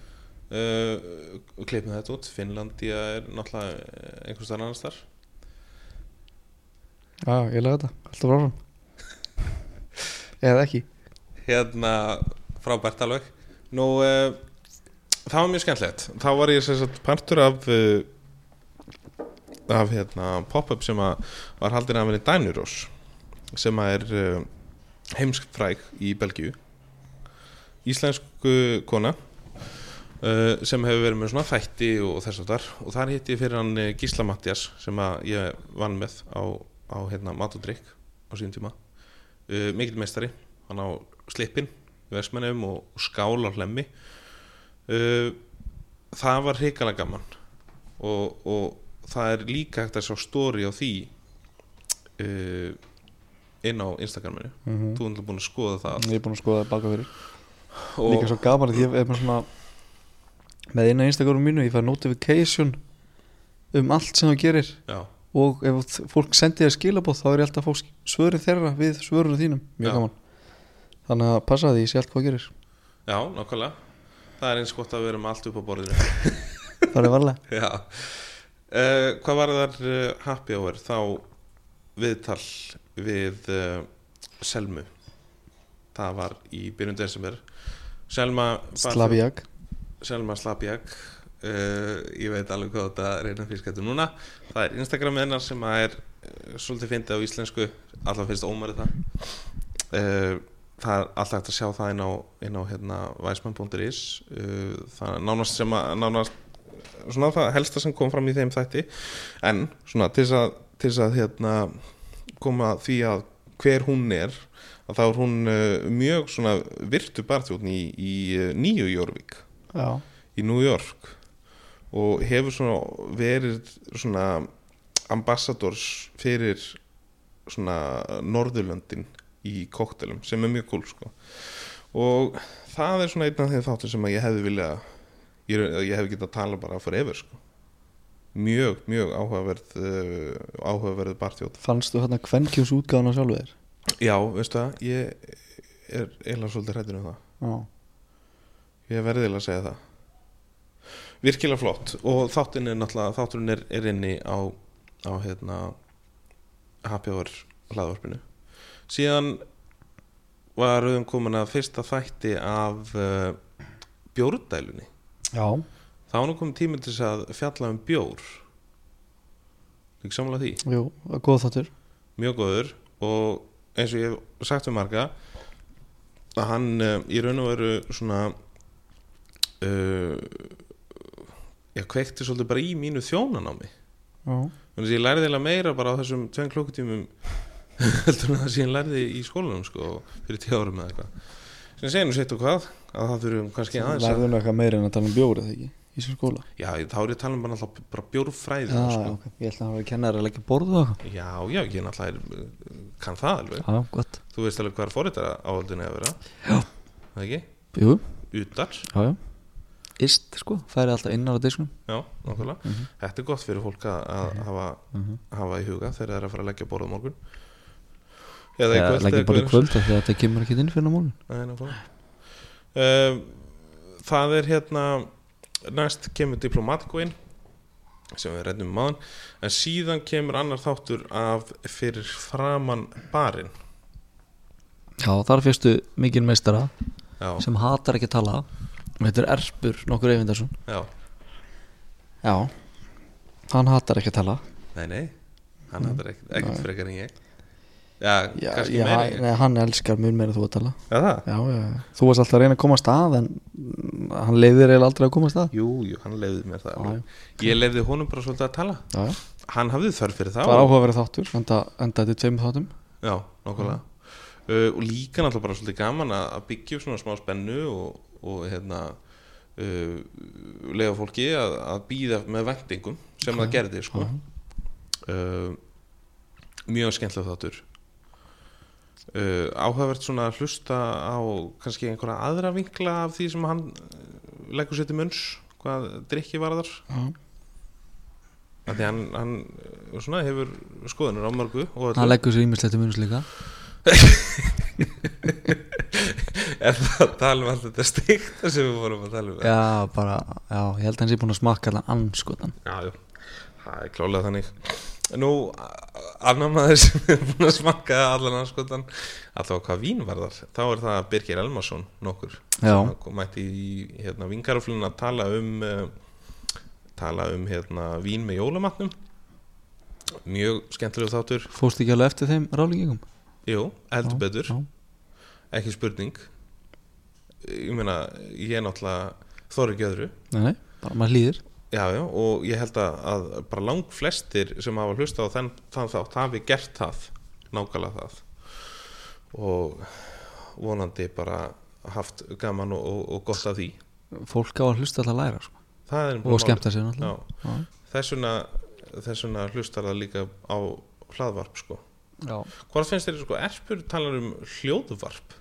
A: uh, og klippum þetta út, Finnlandia er náttúrulega eh, einhvers þar annars þar
C: já, já, ég lega þetta Alltaf ráðan Eða ekki
A: hérna frábært alveg nú, uh, það var mjög skemmtilegt þá var ég sem sagt partur af uh, af hérna pop-up sem að var haldin af henni Dænurós sem að er uh, heimskfræk í Belgíu íslensku kona Uh, sem hefur verið með svona þætti og þess að þar og þar hitti ég fyrir hann eh, Gísla Mattias sem að ég vann með á, á hérna, mat og drikk á síðan tíma uh, mikill meistari hann á slippin í versmennum og skál á hlemmi uh, það var hrikalega gaman og, og það er líka hægt að sjá stóri á því uh, inn á Instagraminu
C: mm -hmm.
A: þú er náttúrulega búin að skoða það allt.
C: Ég er búin að skoða baka fyrir
A: og,
C: Líka svo gaman að ég er með svona með eina Instagram mínu, ég fæ notification um allt sem þú gerir
A: já,
C: og ef þ- fólk sendir þér skilabóð þá er ég alltaf að fá svörin þeirra við svörunum þínum, mjög
A: Já.
C: gaman þannig að passa því, ég sé allt hvað þú gerir
A: já, nákvæmlega það er eins gott að vera með allt upp á borðinu
C: það er varlega
A: já uh, hvað var þar uh, happy hour þá viðtal við uh, Selmu það var í byrjun desember Selma
C: Slaviak,
A: Selma Slabjak uh, ég veit alveg hvað þetta reyna fyrskættu núna það er Instagram með hennar sem að er uh, svolítið fyndið á íslensku allan finnst ómari það uh, það er alltaf hægt að sjá það inn á, inn á hérna væsmann.is uh, það er nánast sem að nánast, svona það helsta sem kom fram í þeim þætti en svona til þess að, til þess að hérna, koma því að hver hún er að þá er hún uh, mjög svona virtu barþjóðn í, í uh, nýju Jórvík
C: já,
A: í New York og hefur svona verið svona ambassadors fyrir svona Norðurlöndin í koktelum sem er mjög cool sko og það er svona einn af þeim þáttum sem að ég hefði vilja ég, er- ég hefði getað tala bara fyrir yfir sko mjög, mjög áhugaverð uh, áhugaverð barþjóð
C: fannstu hérna kvenkjós útgáðan á sjálfu þér
A: já, veistu það, ég er eiginlega svolítið hrættur um það
C: já,
A: Ég verði eiginlega að segja það Virkilega flott og þátturinn er náttúrulega þátturinn er, er inni á, á hérna Happy Hour hlaðvarpinu Síðan var auðvitað komin að fyrsta þætti af uh, bjórdælunni
C: já,
A: Það var nú komin tími til þess að fjalla um bjór Lík samlega því
C: jú, góð þáttur
A: mjög góður og eins og ég hef sagt við marga að hann uh, í raun og veru svona uh, ég kveikti svolítið bara í mínu þjónanámi
C: já,
A: þannig að ég lærði eiginlega meira bara á þessum tveim klukkutímum heldur en það sem ég lærði í skólanum sko fyrir tíu árum eða eitthvað sem segir nú sitt og hvað að það þurfum kannski aðeins að,
C: lærðu nú eitthvað meira en að tala um bjóri þegar ekki í sem skóla
A: já þá er ég að tala um bara, náttúrulega bara bjórfræði
C: já,
A: sko.
C: ok, ég ætla að hafa að kenna þér að leggja borðu og eitthvað.
A: já já ég náttúrulega er, kann það alveg
B: Já, gott
A: Þú veist alveg hvað er fórhættara áhaldin að vera Já Það ekki?
B: Jú,
A: Utar
B: já, já ist sko, færi alltaf innar á diskunum
A: já, nákvæmlega
B: Mhm.
A: Þetta er gott fyrir fólk að, að hafa,
B: Mhm.
A: hafa í huga þegar það er að fara að leggja borðum morgun Eða í
B: eða
A: kvöld
B: leggjum bara í
A: hvenær-
B: kvöld af því að þetta kemur ekki inn fyrir á morgun
A: Nei, nákvæmlega um, Það er hérna næst kemur Diplomatico inn sem við reddum um aðan en síðan kemur annar þáttur af fyrir framann barinn
B: já, þar fyrstu mikinn meistara
A: Já,
B: sem hatar ekki að tala og þetta er erpur nokkur Eyvindarsson
A: já,
C: Já Hann hattar ekki að tala
A: nei, nei hann hattar ekkert, ekkert frekar en ég Já,
C: já,
A: kannski
C: já,
A: meira en ég
C: nei, Hann elskar mun meira en þú að tala
A: Já, það
C: já, já. Þú varst alltaf að reyna að komast að en mm, hann leiðir eiginlega aldrei að komast að
A: Jú, jú, hann leiði mér það
C: Já,
A: alveg. Ég leiði honum bara svolítið að tala
C: já, já.
A: Hann hafði þörf fyrir það
C: Það var
A: og-
C: áhuga að vera þáttur enda, enda þetta er tveimur þáttum
A: Já, nokkulega uh, og líka náttúrulega bara svolítið gaman að, að byggja upp svona smá spennu og, og hérna uh, lega fólki að, að býða með vendingum sem það gerði sko. uh, mjög skemmtilega þáttur Uh, áhugavert svona að hlusta á kannski einhverja aðra vinkla af því sem hann uh, leggur sér til munns hvað drikki varðar
C: Já.
A: að því hann, hann uh, svona, hefur skoðunur á mörgu og öllu.
B: hann leggur sér ímislegt um unnus líka
A: Er það að tala um alltaf þetta stíkta sem við vorum að tala um?
B: já, bara, já, ég held að hann sé búin að smakka allan anskotan
A: Já, jú. Það er klálega þannig. Nú, a- annar maður sem er búin að smakka allan anskotan, alltaf hvað vín varðar, þá er það Birgir Elmarsson nokkur.
B: Já.
A: Sem kom- Mætti í hérna, vingaraflun að tala um, uh, tala um hérna, vín með jólamatnum. Mjög skemmtilega þáttur.
B: fórst ekki alveg eftir þeim rálingum
A: Jú, heldur betur.
B: já.
A: Ekki spurning. Ég meina, ég er náttúrulega þorri ekki öðru.
B: nei, nei, bara maður hlýðir
A: Já, já, og ég held að, að bara lang flestir sem hafa hlusta á þenn, þann þátt hafi gert það, nákvæmlega það og vonandi bara haft gaman og, og, og gott af því
B: fólk á að hlusta alltaf að læra sko.
A: það er
B: og skemmta sér náttúrulega
A: sér þessuna, þessuna hlustar það líka á hlaðvarp sko
B: já.
A: Hvað finnst þér sko, erpur talar um hljóðvarp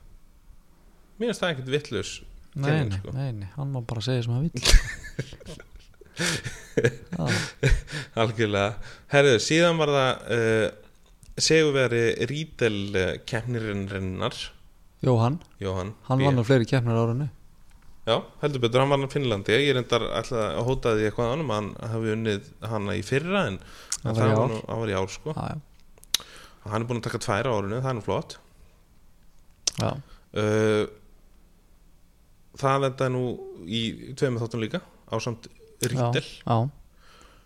A: Mér finnst það ekkert vittlaus
B: Nei,
A: kenning,
B: nei,
A: sko.
B: nei, nei, hann má bara segja sem hann vill Já,
A: Algjörlega. Herðu, síðan var það uh, seguveri rítel eh, keppnirinnar,
B: Jóhann,
A: Jóhann.
B: hann
A: B.
B: vann á fleiri keppnir á árunni
A: Já, heldur betur, hann vann á Finnlandi. Ég reyndar alltaf að hótaði því eitthvað annum, hann hafi unnið hana í fyrra en
B: Það
A: en
B: var í ár.
A: nú- hann var í ár sko.
B: Já, já,
A: Og Hann er búin að taka tværa árinu, það er nú flott.
B: já,
A: Uh, það endaði nú í tveimur þáttum líka, á samt rítel,
B: já.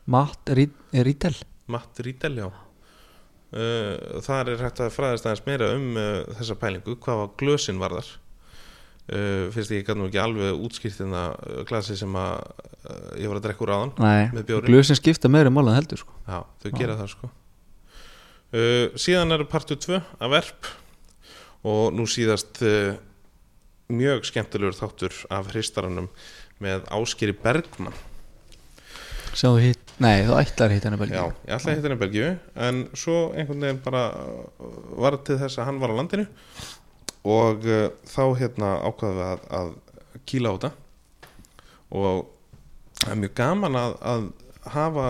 B: Matt Rítel
A: Matt Rítel, já. Uh, þar er hægt að fræðast aðeins meira um uh, þessa pælingu, hvað var glösin varðar uh, fyrst ég gæti nú ekki alveg útskýrtina uh, glasi sem að uh, ég var að drekka úr áðan
B: Nei,
A: Með bjóri.
B: glösin skipta meiri mál en heldur sko.
A: já, þau gera það sko uh, síðan eru partur 2 af erp og nú síðast uh, mjög skemmtilegur þáttur af hristaranum með Áskeri Bergmann
B: sem þú hitt, nei þú ætlar að hitta henni
A: já,
B: belgi
A: ég ætlaði að hitta henni Belgíu en svo einhvern veginn bara uh, var til þess að hann var á landinu og uh, þá hérna ákvaðum við að, að kýla á þetta og það er mjög gaman að, að hafa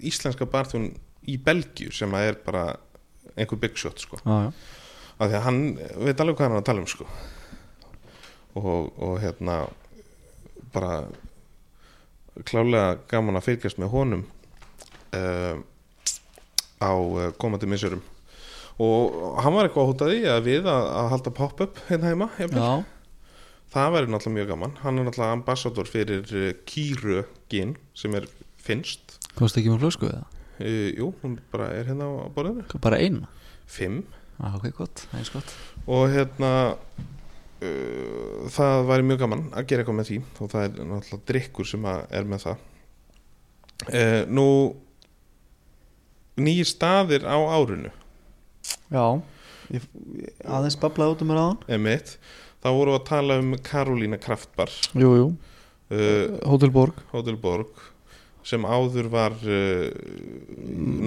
A: íslenska barþjón í Belgíu sem að er bara einhver big shot sko
B: Já, já,
A: af því að hann veit alveg hvað hann er að tala um sko. og, og hérna bara klálega gaman að fylgjast með honum uh, á eh, komandi missurum og hann var eitthvað að hóta því að við að, að halda pop-up hérna heima jafnvel.
B: já,
A: það væri náttúrulega mjög gaman hann er náttúrulega ambassador fyrir eh, Kýru gin sem er finnst
B: komst ekki með flösku við það
A: uh, jú, hún bara er hérna á borðinu
B: Bara eina,
A: fimm
B: já, ok, gott, eins gott
A: og hérna uh, það væri mjög gaman að gera eitthvað með því og það er náttúrulega drikkur sem að er með það uh, nú nýjir staðir á árinu
C: Já ég, ég- Aðeins bablaði út um mér á
A: emitt, þá vorum við að tala um Karolína Kraftbar
C: Jú, jú,
A: uh,
C: Hótel Borg
A: Hotel Borg sem áður var uh,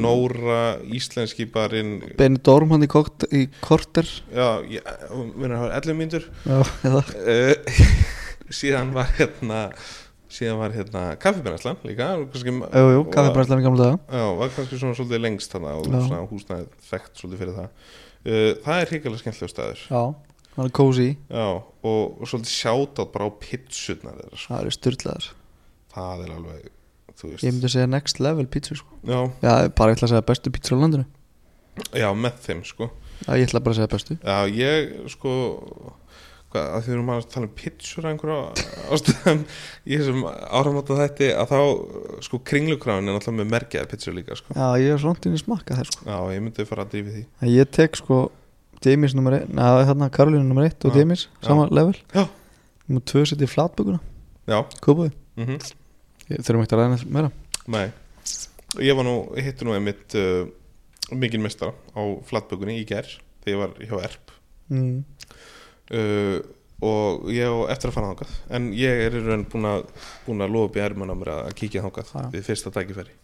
A: Nóra íslenski barinn
C: Benidorm hann í, kokt, í korter
A: já, ég, eh, hún verður að hafa 11 mínútur
C: Já, eða
A: Eh, síðan var hérna síðan var hérna kaffibrennslan líka og kannski,
C: Jú, jú, kaffibræðslan í gamla daga
A: já, var kannski svona svolítið lengst þarna og
C: Já.
A: svona húsnæði þekkt svolítið fyrir það uh, það er hrikalega skemmtilega staður
C: Já, hann er kósi
A: já, og, og svolítið sjátátt bara á pitsutnar þeirra sko.
C: Það eru styrlaðar
A: það er alveg, þú veist
C: Ég myndi segja next level pítsur sko
A: já,
C: Já, bara ég ætla að segja bestu pítsur á landinu
A: já, með þeim sko
C: Já, ég ætla bara að segja bestu
A: já, ég sko hvað, að því við erum að tala um pitsur einhverja ástæðum í þessum áramóta þætti að þá sko kringlukráin er náttúrulega með merkjaði pitsur líka sko.
C: Já, ég er svona inn í smakka þær sko
A: já, ég myndi fara að drífi því
C: En Ég tek sko Demis nummer 1, neða þarna Karolínu nummer 1 og
A: Já,
C: Demis, sama level
A: Já.
C: Númer 2 setið flatbökuna,
A: já,
C: kópaði
A: mhm
C: Þurfum ekki að ræða neitt meira
A: Nei, ég var nú, hittu nú einmitt uh, mikinn mestara á flatbökunni í gær þegar ég var hjá ERP
C: mm.
A: uh, og ég á eftir að fara þangað en ég er í raun búin að, búin að lofa upp í erman á mér að kíkja þangað
C: Já.
A: við fyrsta tækifæri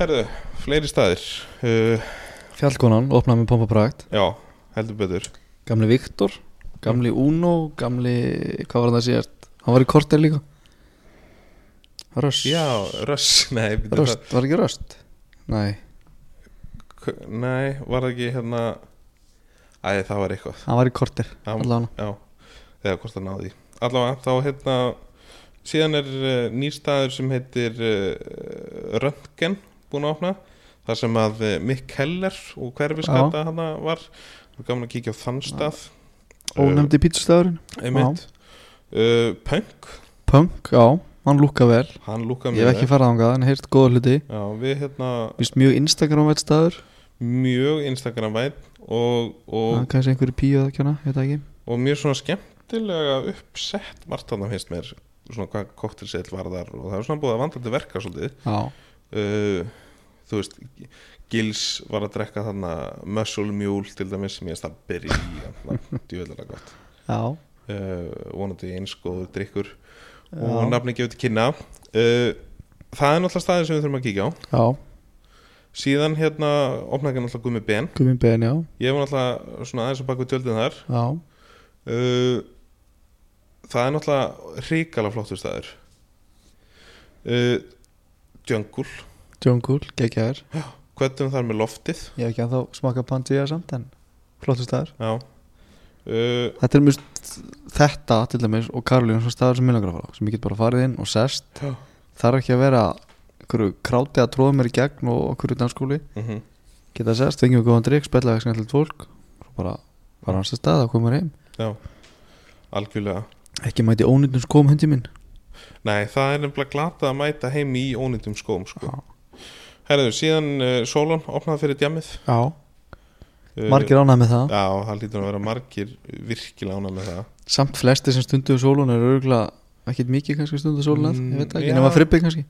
A: Herðu, fleiri staðir uh,
C: Fjallkonan, opnaði með pompa prakt
A: Já, heldur betur
C: Gamli Viktor, gamli Uno Gamli, hvað var það að segja Hann var í korter líka Röst
A: Já, röss, nei, byrju,
C: Röst, var ekki röst? Nei,
A: það, nei, var það ekki hérna Æ, það var eitthvað
C: hann var í korter
A: Það
C: allan
A: Já, eða hvort það náði því. Allavega, þá hérna síðan er uh, nýrstaður sem heitir uh, Röntgen búin að opna þar sem að uh, Mick Keller og hverfiskata hann var Það var gaman að kíkja á þann stað
C: Ónefndi pítsustæðurinn
A: uh, einmitt uh, Punk,
C: Punk, já, hann lúkka vel
A: hann lúkaði
C: Ég hef ekki farað ángað, en heyrt góða hluti
A: Já, við hérna
C: Vist mjög Instagram veit staður
A: mjög Instagram væn og,
C: Það er
A: og,
C: kannski einhverju píu að kjanna, ég veit það ekki
A: og mjög svona skemmtilega uppsett margt þarna finnst mér svona hvað kóttilseil varðar og það er svona búið að vanda til verka svolítið
C: Já,
A: uh, þú veist Gils var að drekka þarna Muscle Mule til dæmis sem ég að byrja í djúveldara gott
C: já,
A: uh, vonandi einskóður drikkur og
C: Já.
A: nafni gefur til kynna uh, það er náttúrulega staðin sem við þurfum að kíkja á
C: já,
A: síðan hérna opnaði ekki náttúrulega gummi ben
C: gummi ben, já,
A: ég var náttúrulega svona aðeins að baka við tjöldin þar
C: já
A: uh, það er náttúrulega hrikala flottur staður uh, Djöngul
C: Jungle, geggjaður
A: hvernig þar með loftið
C: Ég hef ekki að þá smaka Pangea samt, en flottur staður
A: já uh,
C: Þetta er mjög þetta til dæmis og Karolín svo staður sem ég langar að fara á, sem ég get bara farið inn og sest
A: Já.
C: þarf ekki að vera hverju kráti að tróða mér í gegn og hverju danskóli
A: mhm.
C: geta sest, fengjum við góðan drikk, spjalla við skemmtilegt fólk svo bara var hans að staða og komur heim
A: Algjörlega
C: ekki mæti ónýttum skóm hundi minn
A: Nei, það er nefnilega glata að mæta heim í ónýttum skóm sko. Herðu, síðan uh, Solon opnaði fyrir djamið
C: já.
A: uh,
C: margir ánað með það
A: Já, það lítur að vera margir virkilega ánað með það
C: samt flesti sem stunduðu sólun er örgulega ekkit mikið kannski stunduðu sólun
A: Mm,
C: ég veit það
A: já.
C: ekki, nema frippið kannski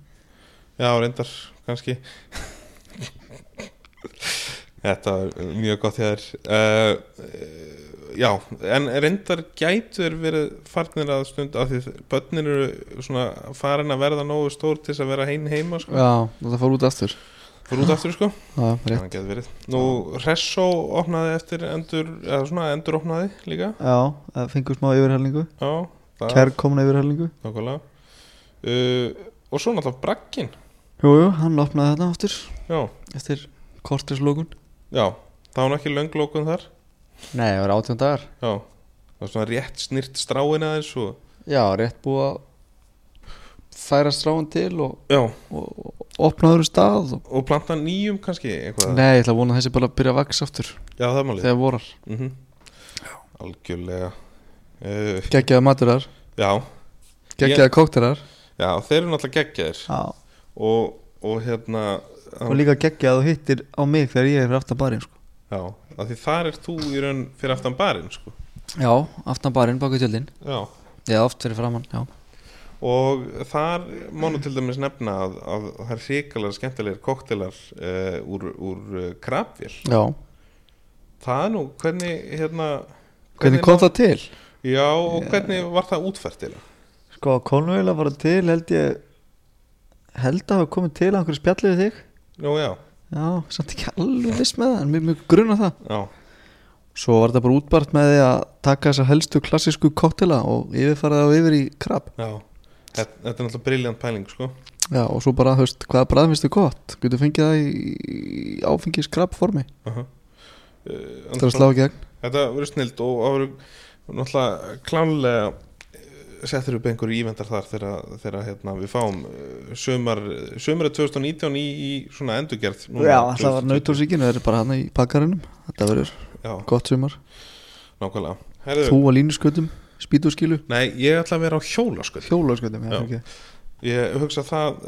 A: Já, reyndar, kannski Þetta er mjög gott hér uh, uh, Já, en reyndar gætur verið farnir að stund af því börnir eru svona farin að verða nógu stór til þess að vera heim heima sko.
C: já, og það fór út aftur
A: Fór út aftur sko
C: já, rétt
A: Það getur verið. Nú, Hressó opnaði eftir endur, eða svona endur opnaði líka.
C: já, það fengur smá yfirhellingu
A: Já, það
C: kærkomna yfirhellingu
A: nákvæmlega. Uh, og svo náttúrulega Bragginn.
C: jú, jú, hann opnaði þetta aftur
A: Já,
C: eftir kortislókun
A: já, það var nú ekki lönglókun þar.
C: nei, það var átjón dagar
A: Já, það var svona rétt snýrt stráin aðeins og...
C: já, rétt búið að færa stráin til og,
A: Já,
C: og, og opnaður stað og
A: og planta nýjum kannski eitthvað.
C: Nei, ég ætla að vona að þessi bara að byrja að vaks aftur
A: Já, það er málið.
C: þegar vorar
A: Mm Algjörlega. Uh,
C: Geggjaði maturar,
A: já,
C: geggjaði kókterar
A: já, þeir eru náttúrulega geggjaðir
C: Já,
A: og, og hérna...
C: og líka geggjaði og hittir á mig þegar ég er fyrir aftan barinn sko.
A: Já, af því þar er þú í raun fyrir aftan barinn, sko.
C: Já, aftan barinn, baku tjöldin
A: Já.
C: Já, oft fyrir framann, já
A: og þar má nú til dæmis nefna að, að það er hrikalega skemmtilegir koktelar uh, úr, úr uh, krabvél
C: Já,
A: það er nú, hvernig hérna
C: hvernig kom það til?
A: já, og hvernig var það útfært til
C: Sko, kom nú eiginlega bara til held ég held að hafa komið til að einhverju spjallið við þig
A: nú já,
C: Já, samt ekki alveg viss með það en mjög, mjög grunna það
A: já,
C: Svo var þetta bara útbart með því að taka þessa helstu klassísku kóktela og yfirfara það yfir í krab
A: já Þetta, þetta er náttúrulega briljant pæling sko
C: Já, og svo bara, þú veist, hvaða bræðum finnst þið gott? Getur fengið það í í áfengis krabb formi
A: uh -huh.
C: Það er að slá í gegn
A: Þetta verður snilt og það verður náttúrulega klánlega settur upp einhverju ívendar þar þegar, þegar hérna, við fáum eh, sumar, sumar 2019 í, í svona endurgerð núna,
C: Já, það var
A: 2020.
C: nautórsíkinu, það er bara hann í pakkarinnum Þetta verður
A: Já,
C: gott sumar
A: nákvæmlega Herðu,
C: Þú að línuskötum, spýtuskilu
A: Nei, ég ætla að vera á hjólasköld
C: Hjólaskötum, já,
A: Já.
C: ekki
A: Ég hugsa að það eh,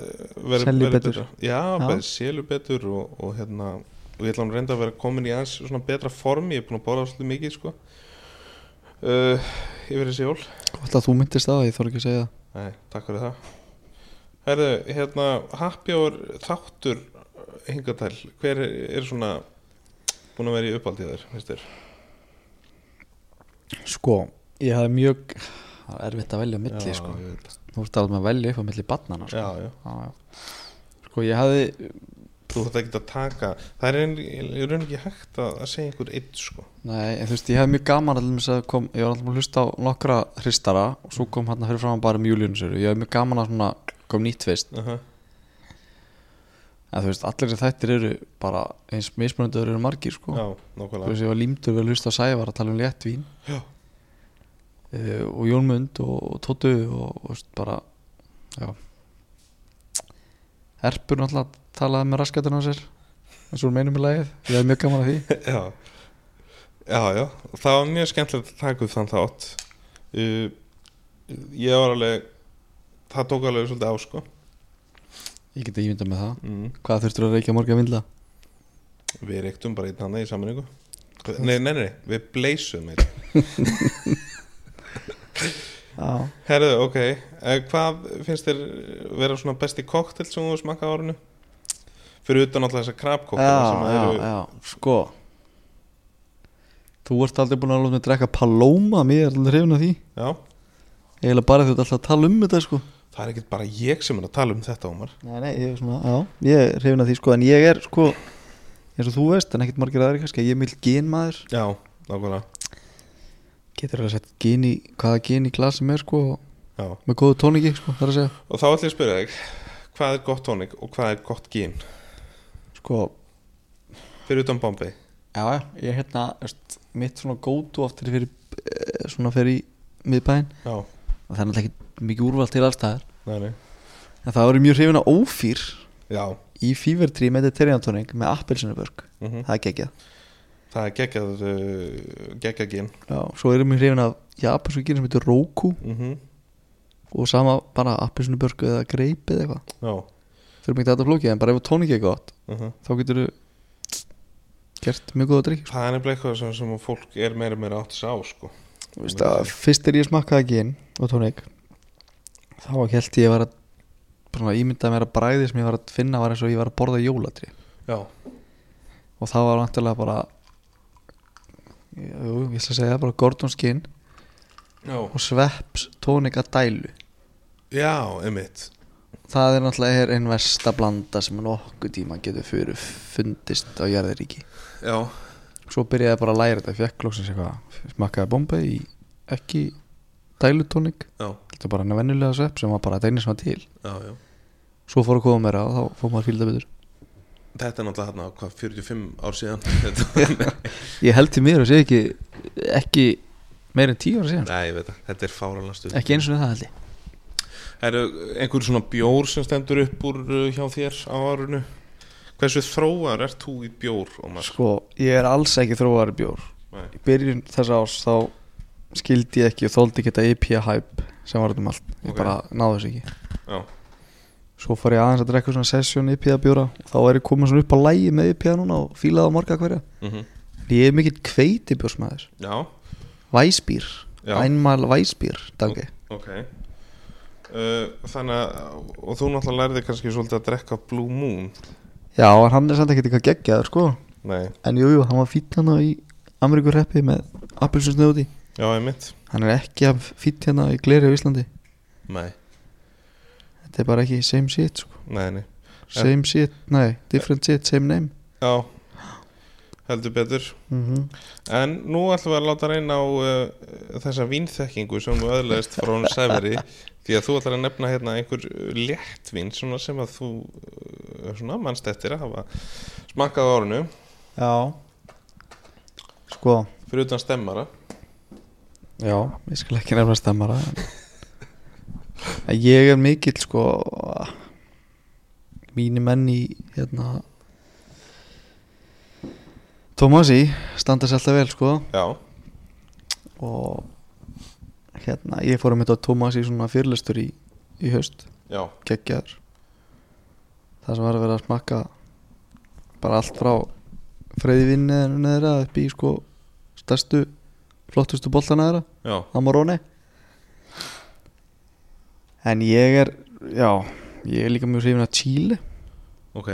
A: veri,
C: Selji betur.
A: Já,
C: Já.
A: bæði selu betur og, og hérna og ég ætla að reynda að vera komin í aðeins svona betra form ég er búin að borða svolítið mikið sko uh, yfir þessi jól
C: Gott að þú myndist það, ég þarf ekki að segja það
A: Nei, takk fyrir það Herðu, hérna, happy hour þáttur hingatæl hver er, er svona búin að vera í uppaldið þér, finnst þér?
B: Sko, ég hafði mjög það er erfitt að velja á milli
A: Já,
B: sko.
A: ég veit það.
B: Þú ert alveg með að velja upp á milli barnana sko.
A: Já, já,
B: Já, já. Sko, ég hafði
A: þú þetta ekki að taka það er einnig, ég raun ekki hægt að, að segja einhver eitt sko
B: Nei, en þú veist, ég hafði mjög gaman allir að kom, ég var allir að hlusta á nokkra hristara og svo kom hann að fyrir fram bara um júlíunusöru ég hafði mjög gaman að svona kom nýtt fyrst
A: uh -huh.
B: en þú veist, allir sem þættir eru bara eins mismunandur eru margir sko
A: Já,
B: þú
A: nákvæmlega
B: veist, ég var límdur við að hlusta á Sævar að tala um léttvín
A: Já.
B: uh, og Jónmund og, og Tóttu og, og þú veist, bara já Erpur náttúrulega talaði með raskatina á sér eins og hún meinum í lagið, ég hafði mjög gaman að því
A: já. já, já, það var mjög skemmtilegt að taka upp þann þátt uh, Ég var alveg það tók alveg svolítið á sko
B: ég geti ímyndað með það,
A: mm.
B: hvað þurftur að reykja morgi að vindla
A: Við reyktum bara einn annað í sammenningu Nei, nei, nei, við bleysum einn
C: Já
A: Herðu, ok, uh, hvað finnst þér vera svona besti koktel sem þú smakka á árinu? Fyrir utan alltaf þessa krabkoktela sem að
C: já,
A: eru
C: já, sko Þú ert aldrei búin að láta mig drekka Paloma Mér er aldrei hrifin af því
A: já,
C: Eiginlega bara því þú ert alltaf að tala um þetta sko
A: það er ekkert bara ég sem er að tala um þetta, Ómar
C: Nei, nei, ég er svona, já Ég er hrifin af því sko En ég er sko eins og þú veist En ekkert margir aðri kannski að Ég er mjög genmaður
A: Já, nákvæmlega
C: Getur alveg sett gen í Hvaða gen í glasi með sko og
A: Já.
C: Með góðu tóningi sko Það er að segja
A: Og þá ætlum ég að spyrja þig Hvað er gott tónik og hvað er gott gín?
B: sko,
A: Fyrir utan Bombay
B: já, já, ég hérna veist, mitt svona gótu aftur fyrir
C: Eh, Svona fer í miðbæinn
A: Já,
B: og það er náttúrulega ekki mikið úrvald til allstaðar
A: nei, nei
C: En það voru mjög hrifin af ófýr
A: Já,
C: Í fývertri með deteriantóning Með appelsinubörg
A: mm
C: Það er geggjað
A: það er geggjað uh, geggjað gín
C: Já, svo erum við hrifin af japansku gínu sem heitir Roku
A: mm
C: og sama bara appisnubörku eða greip eða eitthvað
A: Já,
C: þau erum ekki þetta flókið en bara ef tónik er gott
A: mm
C: þá getur þú gert mjög góða sko. drikk
A: það er nefnilega eitthvað sem, sem að fólk er meira og meira átt að sá sko
C: Vist, að, fyrst er ég smakkaði gín og tónik þá held ég að vera bara ímyndað mér að bræði sem ég var að finna var eins og ég var að borða jólatri
A: Já,
C: og það var vantilega bara jú, ég ætla að segja bara Gordon Skin
A: já,
C: og Svepps tónika dælu
A: já, emitt
C: Það er náttúrulega er einn versta blanda sem nokkuð tíma getur fyrir fundist á jarðaríki
A: Já,
C: Svo byrjaði ég bara að læra þetta fjökklóksins eitthvað Smakkaði bomba í ekki dælutónik
A: já,
C: Þetta er bara henni venjulega svepp sem var bara að dæna sem var til
A: já, já
C: Svo fór að koma meira og þá fór maður að fílda betur
A: Þetta er náttúrulega hérna, hvað, 45 ár síðan
C: Ég held til mér og sé ekki, ekki meira en tíu ára síðan
A: Nei, ég veit það, þetta er fáralega stuð
C: Ekki eins og það held ég
A: Er einhver svona bjór sem stendur upp úr uh, hjá þér á árunu? Hversu þróar ert þú í bjór, Ómar?
C: Sko, ég er alls ekki þróari bjór
A: Nei.
C: Í byrjun þessa ás þá skildi ég ekki og þóldi ekki þetta IPA-hæp sem var þetta um allt Ég
A: Ok.
C: bara náðu þessu ekki
A: Já,
C: Svo fór ég aðeins að drekka svona sesjón IPA bjóra og þá er ég komin svona upp á lægi með IPA núna og fílaði á marga hverja
A: mm
C: En Ég er mikill kveiti bjórsmaður
A: já,
C: Væsbýr,
A: já.
C: einmæl væsbýr dagi
A: Ok uh, Þannig að og þú náttúrulega lærði kannski svolítið að drekka Blue Moon
C: Já, en hann er samt ekkert eitthvað geggjaður sko
A: Nei,
C: En jú, jú, hann var fýtt hérna í Ameríkurreppi með appelsinsnöð úti
A: já ég mitt
C: Hann er ekki að fýtt hérna í Gleri á Íslandi
A: Nei,
C: Þetta er bara ekki same shit sko
A: nei, nei
C: Same shit, nei, different shit, same name
A: Já heldur betur
C: mm
A: En nú ætlum við að láta reyna á uh, þessa vínþekkingu sem við öðlaðist frá hún Sæveri því að þú ætlar að nefna hérna einhver uh, léttvín svona sem að þú uh, svona mannst eftir að hafa smakkað á árinu
C: Já Sko,
A: fyrir utan stemmara
B: Já,
C: ég skal ekki nefna stemmara en- en Ég er mikill sko Mínu menn í hérna Tómasi standa sér alltaf vel sko
A: Já,
C: og hérna ég fór að mynda Tómasi svona fyrirlestur í, í haust
A: já,
C: geggjaður það sem var að vera að smakka bara allt frá freyðvinni neðra upp í sko stærstu, flottustu boltana þeirra
A: já
C: Amarone en ég er já, ég er líka mjög hrifin að Chile
A: Ok,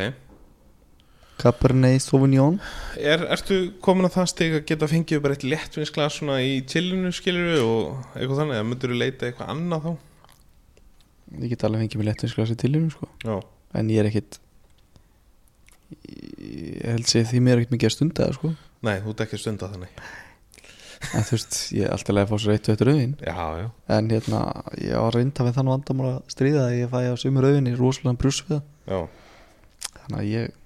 C: Cabernet Sauvignon
A: er, ertu komin að það stig að geta fengið bara eitt léttvinsglas svona í chillinu skilur og eitthvað þannig, eða myndur þú leita eitthvað annað þá?
C: ég get alveg fengið mér lettvinsglasi til hennum sko
A: Já,
C: en ég er ekkit ég held sér því mér er ekkit mikið að stunda það sko
A: nei, þú ert ekki að stunda þannig
C: en þú veist, ég er alltaf að fá sér eitt og eitt rauðin
A: Já, já,
C: en hérna, ég var reynda við þann vandamál að stríða að ég fæ á sömu rauðinni rosalega brjúsfiða
A: já,
C: þannig að ég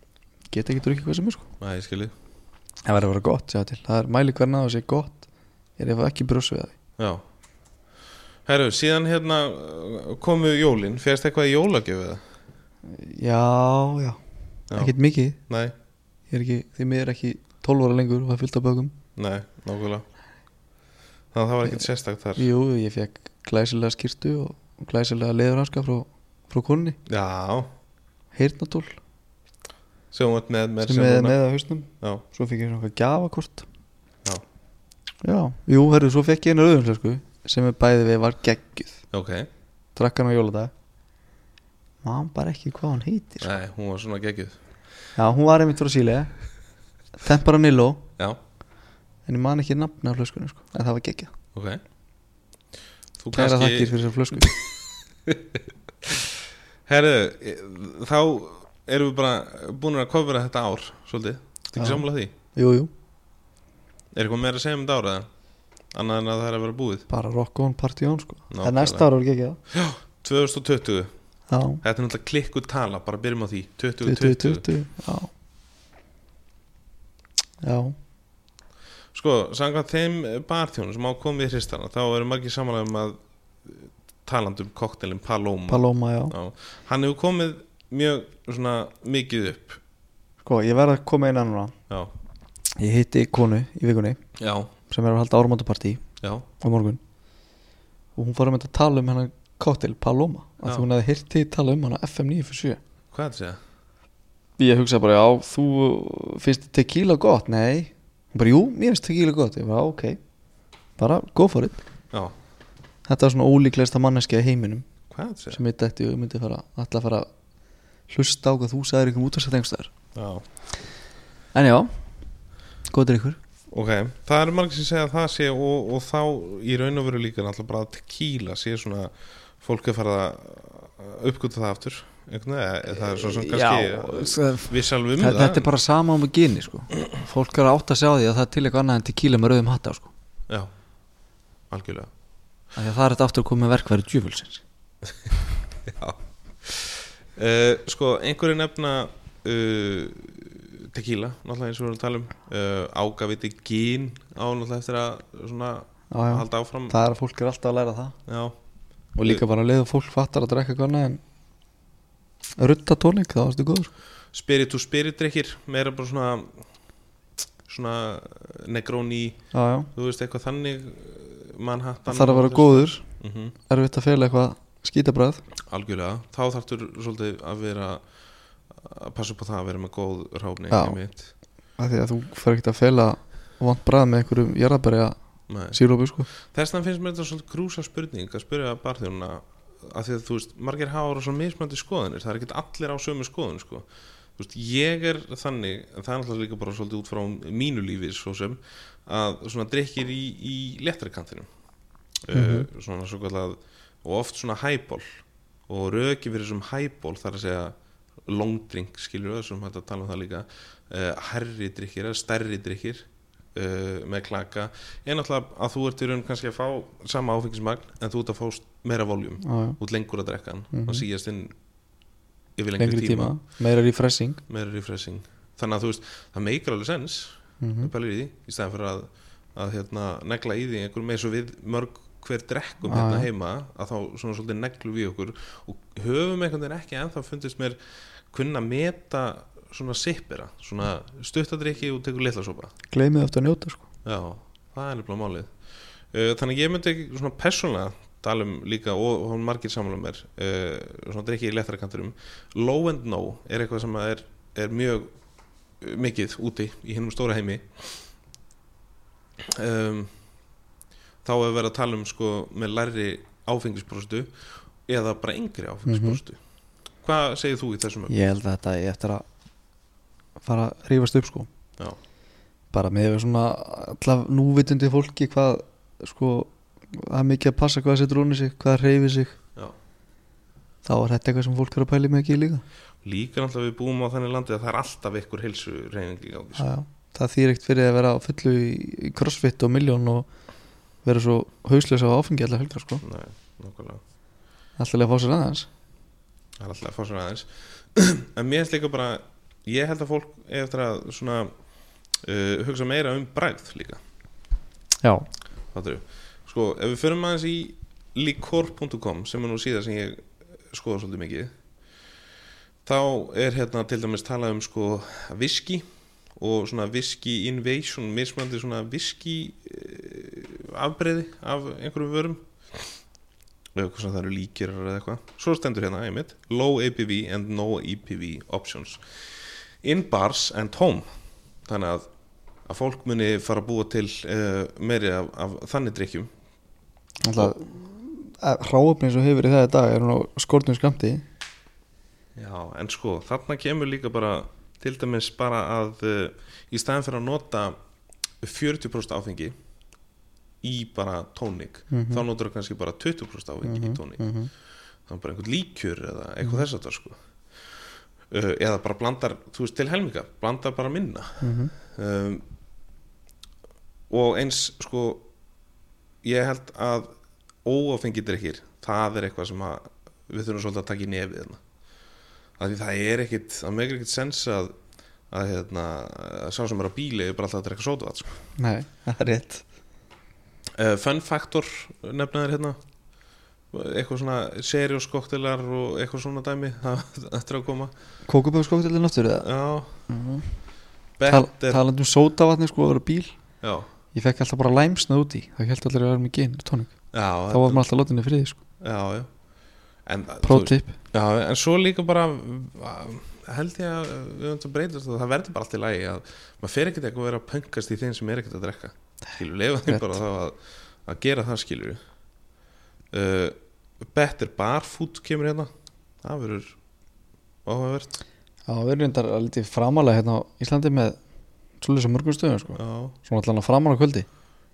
C: get ekki drukkið hvað sem er sko
A: næ, ég skilji
C: það verður að vera gott, sjá til, það er mæli hvernig að það sé gott er ef ekki brjúsfiða
A: Já Herru, síðan hérna uh, komu jólin, férst eitthvað í jólagjöfu það?
C: já, já,
A: Já,
C: ekkert mikið
A: Nei,
C: ég er ekki, því mér er ekki 12 ára lengur og það er fyllt af bökum
A: nei, nákvæmlega Þannig að það var ekkert sérstakt þar
C: jú, ég fekk glæsilega skýrtu og og glæsilega leðurhanska frá, frá konni,
A: Já,
C: heyrnatól
A: sem hún með með
C: sem er með að hausnum
A: Já,
C: svo fekk ég svona eitthvað gjafakort
A: Já.
C: já, jú, herru, svo fekk ég einu rauðumflösku sem er bæði við var geggjuð
A: ok
C: drakk hann á jóladag maður bara ekki hvað hann heitir
A: Nei, hún var svona geggjuð
C: já, hún var einmitt frá síle Temperanillo,
A: Já,
C: en ég man ekki nafna á flöskunni sko. en það var geggjað
A: ok Þú
C: kæra þakkir fyrir þessar flösku
A: Herru, e, þá erum við bara búin að kofra þetta ár Svolítið, þetta ekki
C: Já.
A: samlega því
C: jú, jú,
A: Er eitthvað meira að segja um þetta ár eða? Annað en að það er að vera búið
C: bara rock on, party on sko.
A: Nákvæmlega.
C: en næsta ára er geggjað
A: 2020
C: já,
A: Þetta er náttúrulega klikku tala, bara byrjum á því 2020
C: 2020 já já,
A: Mm. Sko, samkvæmt þeim barþjónu sem á komið í hristana þá eru margir samanlega um að talandi um koktelin Paloma
C: Paloma, já
A: Já, Hann hefur komið mjög svona mikið upp
C: sko, ég verð að koma inn að núna
A: Já,
C: ég hitti konu í vikunni
A: já,
C: sem er að halda áramöndapartí
A: já,
C: á morgun og hún fór að mynda að tala um hennar káttil Paloma
A: Já.
C: að því hún hefði hirti tala um hana FM 947
A: hvað er þetta að segja?
C: ég hugsaði bara, já, þú finnst tequila gott? Nei hún bara, jú, mér finnst tequila gott ég bara, "Já, ok, bara go for it
A: Já,
C: þetta var svona ólíklegasta manneskja í heiminum
A: hvað er þetta að segja?
C: sem ég dætti og ég myndi fara alltaf að fara að hlusta á hvað þú sagðir ykkur útvarsætt einhverstaðar
A: Já,
C: en já, gott er ykkur
A: ok, það eru margir sem segja að það sé og, og þá í raun og veru líka náttúrulega bara að tequila sé svona fólk er farið að uppgöta það aftur einhvern veginn, eða- eða það er svo sem kannski
C: já,
A: við sjálfum um
C: Þa,
A: það
C: þetta er bara sama um að gini sko. fólk er átt að sjá því að það er til eitthvað annað en tequila með rauðum hatta sko.
A: Já, algjörlega
C: Af því að það er þetta aftur að koma með verkværi djöfulsins
A: uh, Sko, einhverju nefna uh, tequila náttúrulega eins og við erum að tala um uh, ágaviti gín á náttúrulega eftir að svona
C: já, já.
A: halda áfram
C: það er að fólk er alltaf að læra það
A: Já,
C: og líka bara að leiða fólk fattar að drekka eitthvað annað en rutta tónik, það varstu góður sko.
A: spirit to spirit drikkir meira bara svona svona negróni
C: já, já.
A: þú veist eitthvað þannig eh, mannhattan
C: það þarf að vera góður,
A: mm
C: erfitt að fela eitthvað skítabræð
A: Algjörlega, þá þarftur svolítið að vera að passa upp á það að vera með góð ráfni
C: Já.
A: einmitt.
C: af því að þú fer ekkert að fela vond bræð með einhverjum jarðabæri að
A: Nei.
C: sírópu sko.
A: Þess vegna finnst mér þetta svona krúsa spurning að spyrja barþjónuna að því að þú veist, margir hafa svona mismöndi skoðanir það er ekkert allir á sömu skoðun sko. þú veist, ég er þannig en það er alltaf líka bara svolítið út frá mínu lífi svo sem, að svona drikkir í, í léttari kantinum uh, svona svo kallað og oft svona hæból og röki fyrir þessum hæból þar að segja longdrink skilur við þessum hægt að tala um það líka uh, herri drikkir eða stærri drikkir uh, með klaka en alltaf að þú ert í raun kannski að fá sama áfengismagn en þú ert að fá st- meira voljum
C: já, já.
A: út lengur að drekka hann mm
C: Mhm.
A: og síðast inn yfir lengri,
C: lengri
A: tíma,
C: tíma, meira refreshing
A: meira refreshing þannig að þú veist, það meikar alveg sens
C: mm
A: mm. pælir í því, í stæðan fyrir að, að hérna, negla í því einhverjum eins og við mörg hver drekkum
C: Já,
A: hérna
C: já.
A: heima að þá svona svolítið neglu við okkur og höfum einhvern veginn ekki en þá fundist mér kunna meta svona sippera, svona stuttadrykki og tekur litla sopa
C: gleymið eftir að njóta sko.
A: Já, það er nefnilega málið uh, Þannig að ég myndi ekki svona persónlega tala um líka og og hún margir samanlega mér uh, svona drikki í lettara kanturum Low and no er eitthvað sem að er, er mjög uh, mikið úti í hinnum stóra heimi um, Þá er verið að tala um sko með lærri áfengisprostu eða bara yngri áfengisprostu Hvað segir þú í þessum öfnum?
C: ég held að þetta er eftir að fara að rífast upp sko.
A: Já.
C: bara með við svona allaf núvitandi fólki hvað sko, það er mikið að passa hvað það setur unni sig, hvað það reyfi sig
A: Já.
C: þá er þetta eitthvað sem fólk er að pæli með ekki líka
A: Líka náttúrulega við búum á þannig landi að það er alltaf ykkur heilsu reyningi á því
C: já, já. það þýr ekkert fyrir að vera á fullu í, í crossfit og miljón og vera svo hauslega á áfengi allar helgar sko,
A: Nei, nokkulega
C: alltaf að fá sér aðeins
A: Það er alltaf að fá svona aðeins En mér finnst líka bara Ég held að fólk eigi eftir að svona uh, hugsa meira um bræð líka
C: já,
A: Fattur Sko, ef við förum aðeins í likor.com sem er nú síðan sem ég skoða svolítið mikið þá er hérna til dæmis talað um sko viski og svona viski invasion mismandi svona viski uh, afbreyði af einhverjum vörum eða hvað sem það eru líkir eða eitthvað svo stendur hérna einmitt low APV and no APV options in bars and home þannig að, að fólk muni fara að búa til uh, meiri af, af þannig drikkjum
C: alltaf hráöfni sem hefur verið það í dag er nú skortum skamti
A: Já, en sko, þarna kemur líka bara til dæmis bara að uh, í staðin fyrir að nota 40% áfengi í bara tónik
C: Mhm.
A: þá notar það kannski bara 20% áfengi í tónik
C: mm -hmm.
A: þá er bara einhvern líkjur eða eitthvað þess að það sko uh, eða bara blandar, þú veist, til helminga blandar bara minna um, og eins sko ég held að óáfengi drikkir, það er eitthvað sem að við þurfum svolítið að taka í nefið hérna. að því það er ekkit það megur ekkit sens að að hérna, að sá sem er á bíli er bara alltaf að drekka sótavat sko.
C: nei, það er rétt
A: uh, Fun Factor nefnaðir hérna eitthvað svona seriós koktelar og eitthvað svona dæmi það það eftir að koma
C: kókuböðskóktelin aftur eða
A: já,
C: mm -hmm. Tal,
A: better
C: talandi um sótavatni sko að vera bíl
A: já,
C: ég fekk alltaf bara læmsna úti það held allir að vera með gin og tónik
A: já,
C: þá var maður alltaf lotinni friði sko
A: já, já. En, það- þú-
C: pro tip
A: Já, en svo líka bara uh, held ég að við höfum þetta breytast og það verður bara allt í lagi að maður fer ekkert eitthvað að vera að pöngast í þeim sem er ekkert að drekka skilur, lefa þeim
C: Rétt.
A: bara þá að, að gera það skilur uh, Better Bar Food kemur hérna það verður áhugavert
C: já, við erum reyndar að lítið framalega hérna á Íslandi með svolítið sem mörgum stöðum sko
A: Já,
C: svona allan að framalega kvöldi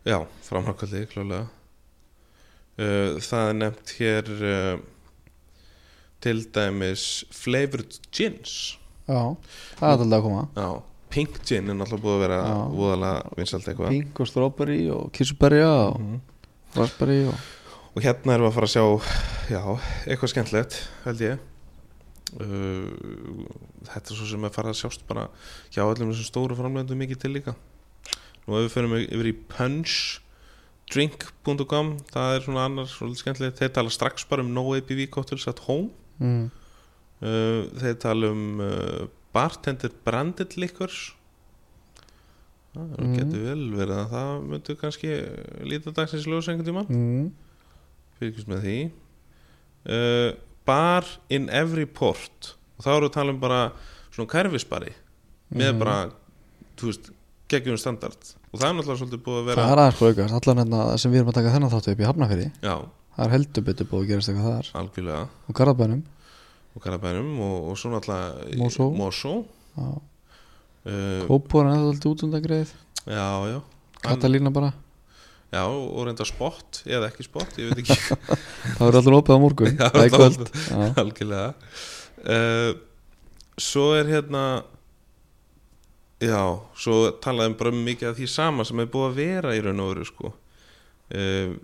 A: já framhagkvöldi, klálega uh, Það er nefnt hér uh, til dæmis Flavored Gins
C: já, það er alltaf að koma
A: Já, Pink Gin er náttúrulega búið að vera
C: Já.
A: voðalega vinsalt eitthvað
C: pink og strawberry og kissuberja og
A: Mhm.
C: raspberry og
A: Og hérna erum við að fara að sjá já, eitthvað skemmtilegt, held ég. Uh, þetta er svo sem er farið að sjást bara hjá öllum þessum stóru framlegundum mikið til líka. Nú ef við förum yfir í punchdrink.com, það er svona annars svolítið skemmtilegt. Þeir tala strax bara um no ABV cocktails at home.
C: mm.
A: Uh, þeir tala um uh, bartender branded liquors. Ah, Það
C: Mm.
A: getur vel verið að það myndu kannski lítið dagsins ljós einhvern tíma
C: Mm.
A: fylgjumst með því uh, bar in every port og þá eru að tala um bara svona kærfisbari með
C: Mhm.
A: bara, þú veist, geggjum standard og það er náttúrulega svolítið búið að vera
C: það er aðeins búið aukast allan hérna sem við erum að taka þennan þáttu upp í Hafnafyrði
A: já,
C: það er heldur betur búið að gerast eitthvað þar
A: algjörlega
C: og Garðabænum
A: og karabænum og, og svo náttúrulega
C: Mosó.
A: Mosó.
C: já.
A: Uh,
C: Kópur er alltaf út undan greið
A: já, já
C: Katalína bara
A: já, og reynda spott, eða ekki spott ég veit ekki
C: Það verður alltaf opið á morgun
A: Já,
C: Það er
A: það
C: kvöld Já.
A: algjörlega uh, svo er hérna já, svo talaðum bara um mikið af því sama sem er búið að vera í raun og veru sko uh,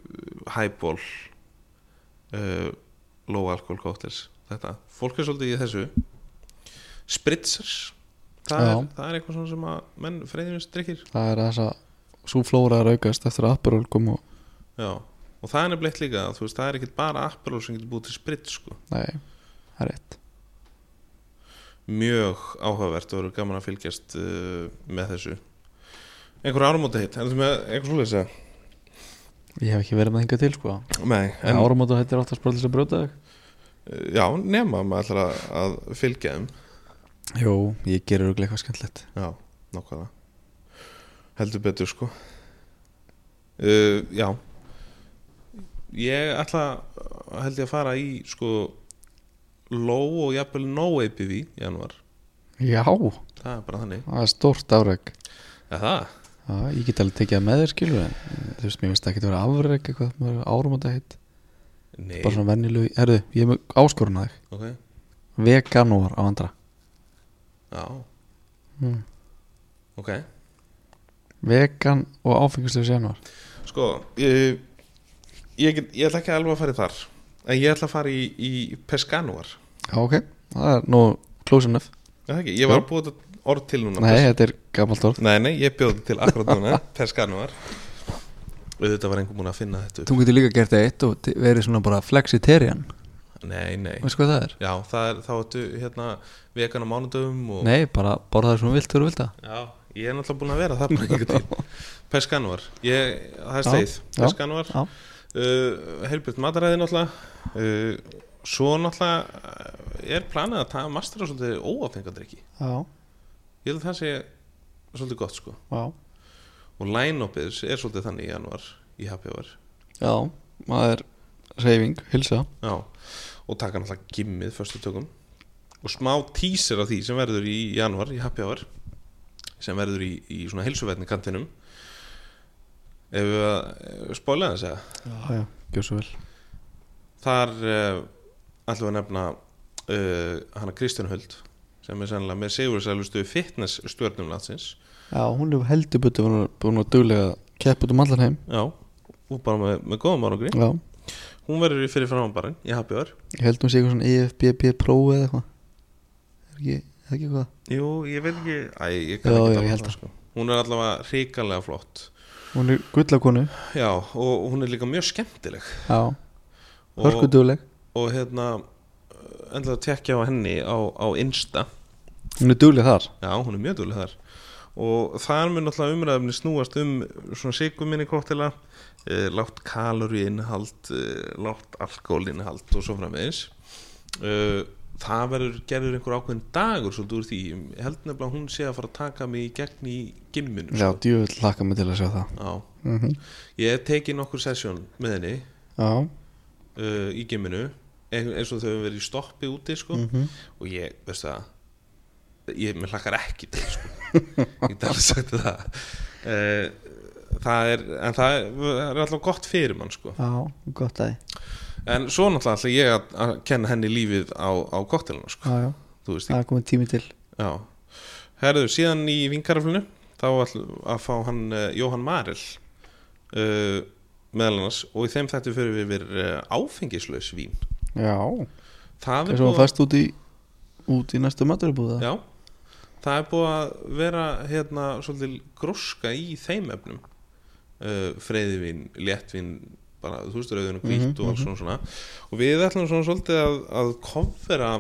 A: highball uh, low alcohol cocktails þetta, fólk er svolítið í þessu spritzers það,
C: Já.
A: er, það er eitthvað svona sem að menn freyðinist drikkir
C: það er þess að svo flóra er aukast eftir að Aperol kom og
A: já, og það er nefnilegt líka þú veist, það er ekkert bara Aperol sem getur búið til spritz sko
C: nei, það er rétt
A: mjög áhugavert og verður gaman að fylgjast uh, með þessu einhver áramóta hitt, erum þú með einhver svolítið að
B: Ég hef ekki verið með hingað til sko
A: Nei,
B: En
A: en, uh,
B: áramóta þetta er áttast bara til þess að brjóta þig
A: já, nema maður ætlar að, að fylgja þeim
B: Jú, ég gerir auðvitað eitthvað skemmtilegt
A: Já, nokkvæða Heldur betur sko uh, Já Ég ætla að- held ég að fara í sko low og jafnvel no APV í januar,
C: já, það
A: það er bara þannig
C: er stórt afreg
A: Er það?
B: Já, ég get alveg tekið það með þér skilur en þú veist, mér finnst það ekki að vera afreg eitthvað, maður áramóta heitt
A: Nei,
B: Bara svona venjulegu, herðu, ég hef með áskorun að þig
A: ok
B: Veganúar á andra
A: Já, Hmm.
C: mm.
A: ok
C: vegan og áfengislega januar
A: Sko ég, ég, get- ég ætla ekki alveg að fara í þar En ég ætla að fara í, í Pescanuar
C: já, ok, það er nú close enough
A: Er það ekki? Ég var
C: Jú.
A: að búa þetta orð til núna
C: nei, þetta er gamalt orð
A: Pes- nei, nei, ég bjóð til akkurat núna Pescanuar Auðvitað var einhver múin að finna þetta upp
B: Þú getur líka gert það eitt og te- verið svona bara flexitarian
A: Nei, nei
B: Veist hvað það er?
A: Já, það er, þá ertu hérna vegan á mánudöfum og
B: Nei, bara borða það svona vilt þegar þú vilt það
A: Já, ég er náttúrulega búin að vera það bara einhver til Pescanuar, ég, það er sleið
C: já,
A: Pescanuar
C: já.
A: uh, Herbjörn Mataræði náttúrulega uh, Svo náttúrulega uh, er planið að taða mastera svolítið óafengadrykki
C: já,
A: Ég held að það sé svolítið gott sko
C: já,
A: Og line-upið er svolítið þannig í januar í HPR
C: já það er reyfing, hilsa
A: Já, og taka náttúrulega gimmið fyrstu tökum og smá tísir af því sem verður í januar, í happy hour sem verður í, í svona heilsuverðni kantinum ef við að eh, spóla þess að
C: já, já, gjör svo vel
A: þar uh, ætlum við að nefna uh, hana Kristján Höld sem er sannlega með segursælustu fitness stjórnum landsins
C: já, hún er heldur betur búin að- búin að duglega kepp út um allan heim
A: Já, og bara með, með góðum árangri
C: já,
A: hún verður í fyrir frambarinn í happy hour
C: ég held hún sé eitthvað svona E EFBB Pro eða eitthvað er ekki, er ekki eitthvað
A: Jú, ég veit ekki Æ, ég kann
C: Já,
A: ekki
C: já,
A: tala
C: ég
A: um
C: held
A: það, sko. Hún er allavega hrikalega flott
C: hún er gullakonu
A: Já, og hún er líka mjög skemmtileg
C: já,
A: og,
C: hörkuduleg
A: og hérna endaði að tekja á henni á, á Insta
C: hún er dugleg þar
A: Já, hún er mjög dúlega þar og þar mun alltaf umræðumni snúast um svona sigurminni kóttila e, látt kalori innhald e, látt alkohol innhald og svo framvegis e, það verður gerður einhver ákveðin dagur svolítið úr því, ég held nefnilega að hún sé að fara að taka mig í gegn í gimminu
B: Já, djúvill hlakka mig til að sjá það
A: Já,
C: mm
A: ég hef tekið nokkur sessjón með henni
C: já,
A: uh, í gimminu ein- eins og þau hefur verið í stoppi úti sko.
C: Mhm.
A: og ég, veistu það ég, mér hlakkar ekki til sko. ég get alveg sagt þér það uh, það er en það er, það er alltaf gott fyrir mann sko.
C: já, gott að
A: en svo náttúrulega ætla ég að, að kenna henni lífið á, á koktelinu sko.
C: já, já,
A: þú veist,
C: það er komið tími til
A: já herðu, síðan í vingaraflinu þá ætlum við að fá hann uh, Jóhann Marel uh, meðal annars og í þeim þetta fyrir við yfir uh, áfengislaus vín
C: já,
A: það er
C: það er svo
A: búið-
C: fast út í út í næstu maturubúða
A: Já, það er búið að vera hérna svolítið gróska í þeim efnum uh, freyðivin, léttvin bara, þú veist, rauðinu hvít
C: Mhm,
A: og alls svona, svona og við ætlum svona svolítið að, að konvera,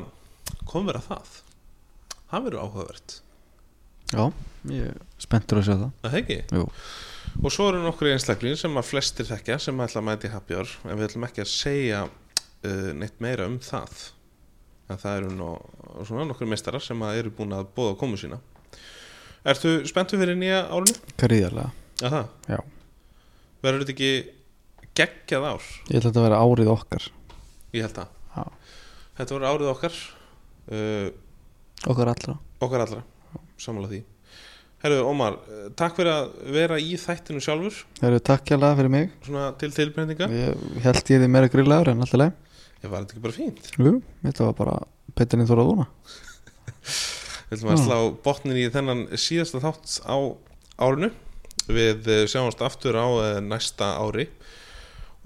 A: konvera það það verður áhugavert
C: ég,
B: Spenntur að sjá það
A: Það hegi?
B: Jú.
A: Og svo eru nokkru einstaklingar sem að flestir þekkja sem ætla að mæta í happy hour en við ætlum ekki að segja uh, neitt meira um það en það eru nú svona nokkru meistarar sem að eru búin að bóða komu sína Ertu spenntu fyrir nýja árinu?
B: Gríðarlega
A: Já það?
B: Já.
A: Verður þetta ekki geggjað ár?
C: ég ætla að þetta að vera árið okkar
A: Ég held það
C: Já.
A: Þetta voru árið okkar uh,
C: okkar allra
A: okkar allra, samanlega því Herru Ómar, eh, takk fyrir að vera í þættinu sjálfur
C: það eru takk hérlega fyrir mig
A: svona til tilbreyndinga
C: ég held ég því meira grillaður en alltaf leið
A: Ég var þetta ekki bara fínt
C: jú, þetta var bara betur en þú voru að vona
A: Við ætlum að slá botnin í þennan síðasta þátt á árinu Við eh, sjáumst aftur á eh, næsta ári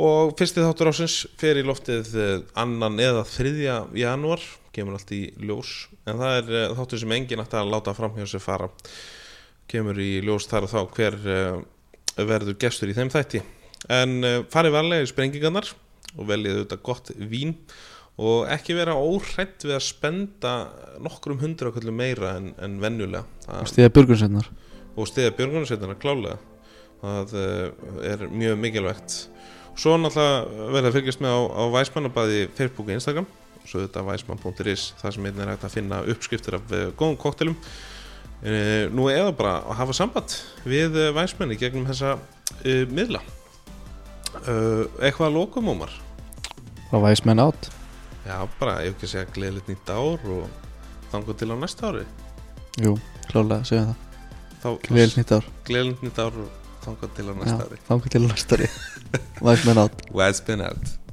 A: Og fyrsti þáttur ásins fer í loftið eh, annan eða þriðja janúar Kemur allt í ljós En það er eh, þáttur sem enginn ætti að láta framhjá sér fara Kemur í ljós þar og þá hver eh, verður gestur í þeim þætti En eh, farið varlega í sprengingarnar Og veljið auðvitað gott vín og ekki vera óhrætt við að spenda nokkrum hundra kvöldum meira en, en venjulega
C: og
A: það,
C: stíða björgunsveinar
A: og stiða björgunarsveitina klálega það eh, er mjög mikilvægt svo náttúrulega verða að fylgjast með á, á Væsmannabæði Facebook og Instagram svo þetta væsmann.is það sem einnig er hægt að finna uppskriftir af eh, góðum koktelum Eh, nú eða bara að hafa samband við eh, væsmenni gegnum þessa uh, miðla uh, eitthvað að lokum ómar
C: það væs menn átt
A: Já, bara, ég hef ekki að segja gleðilegt nýtt ár og þangu til á næsta ári
C: jú, klálega, segjum það
A: Þá
C: gleðilegt nýtt ár
A: gleðilegt nýtt ár og þangu til á
C: Já,
A: næsta ári
C: þangað til næstari væs menn átt
A: West been out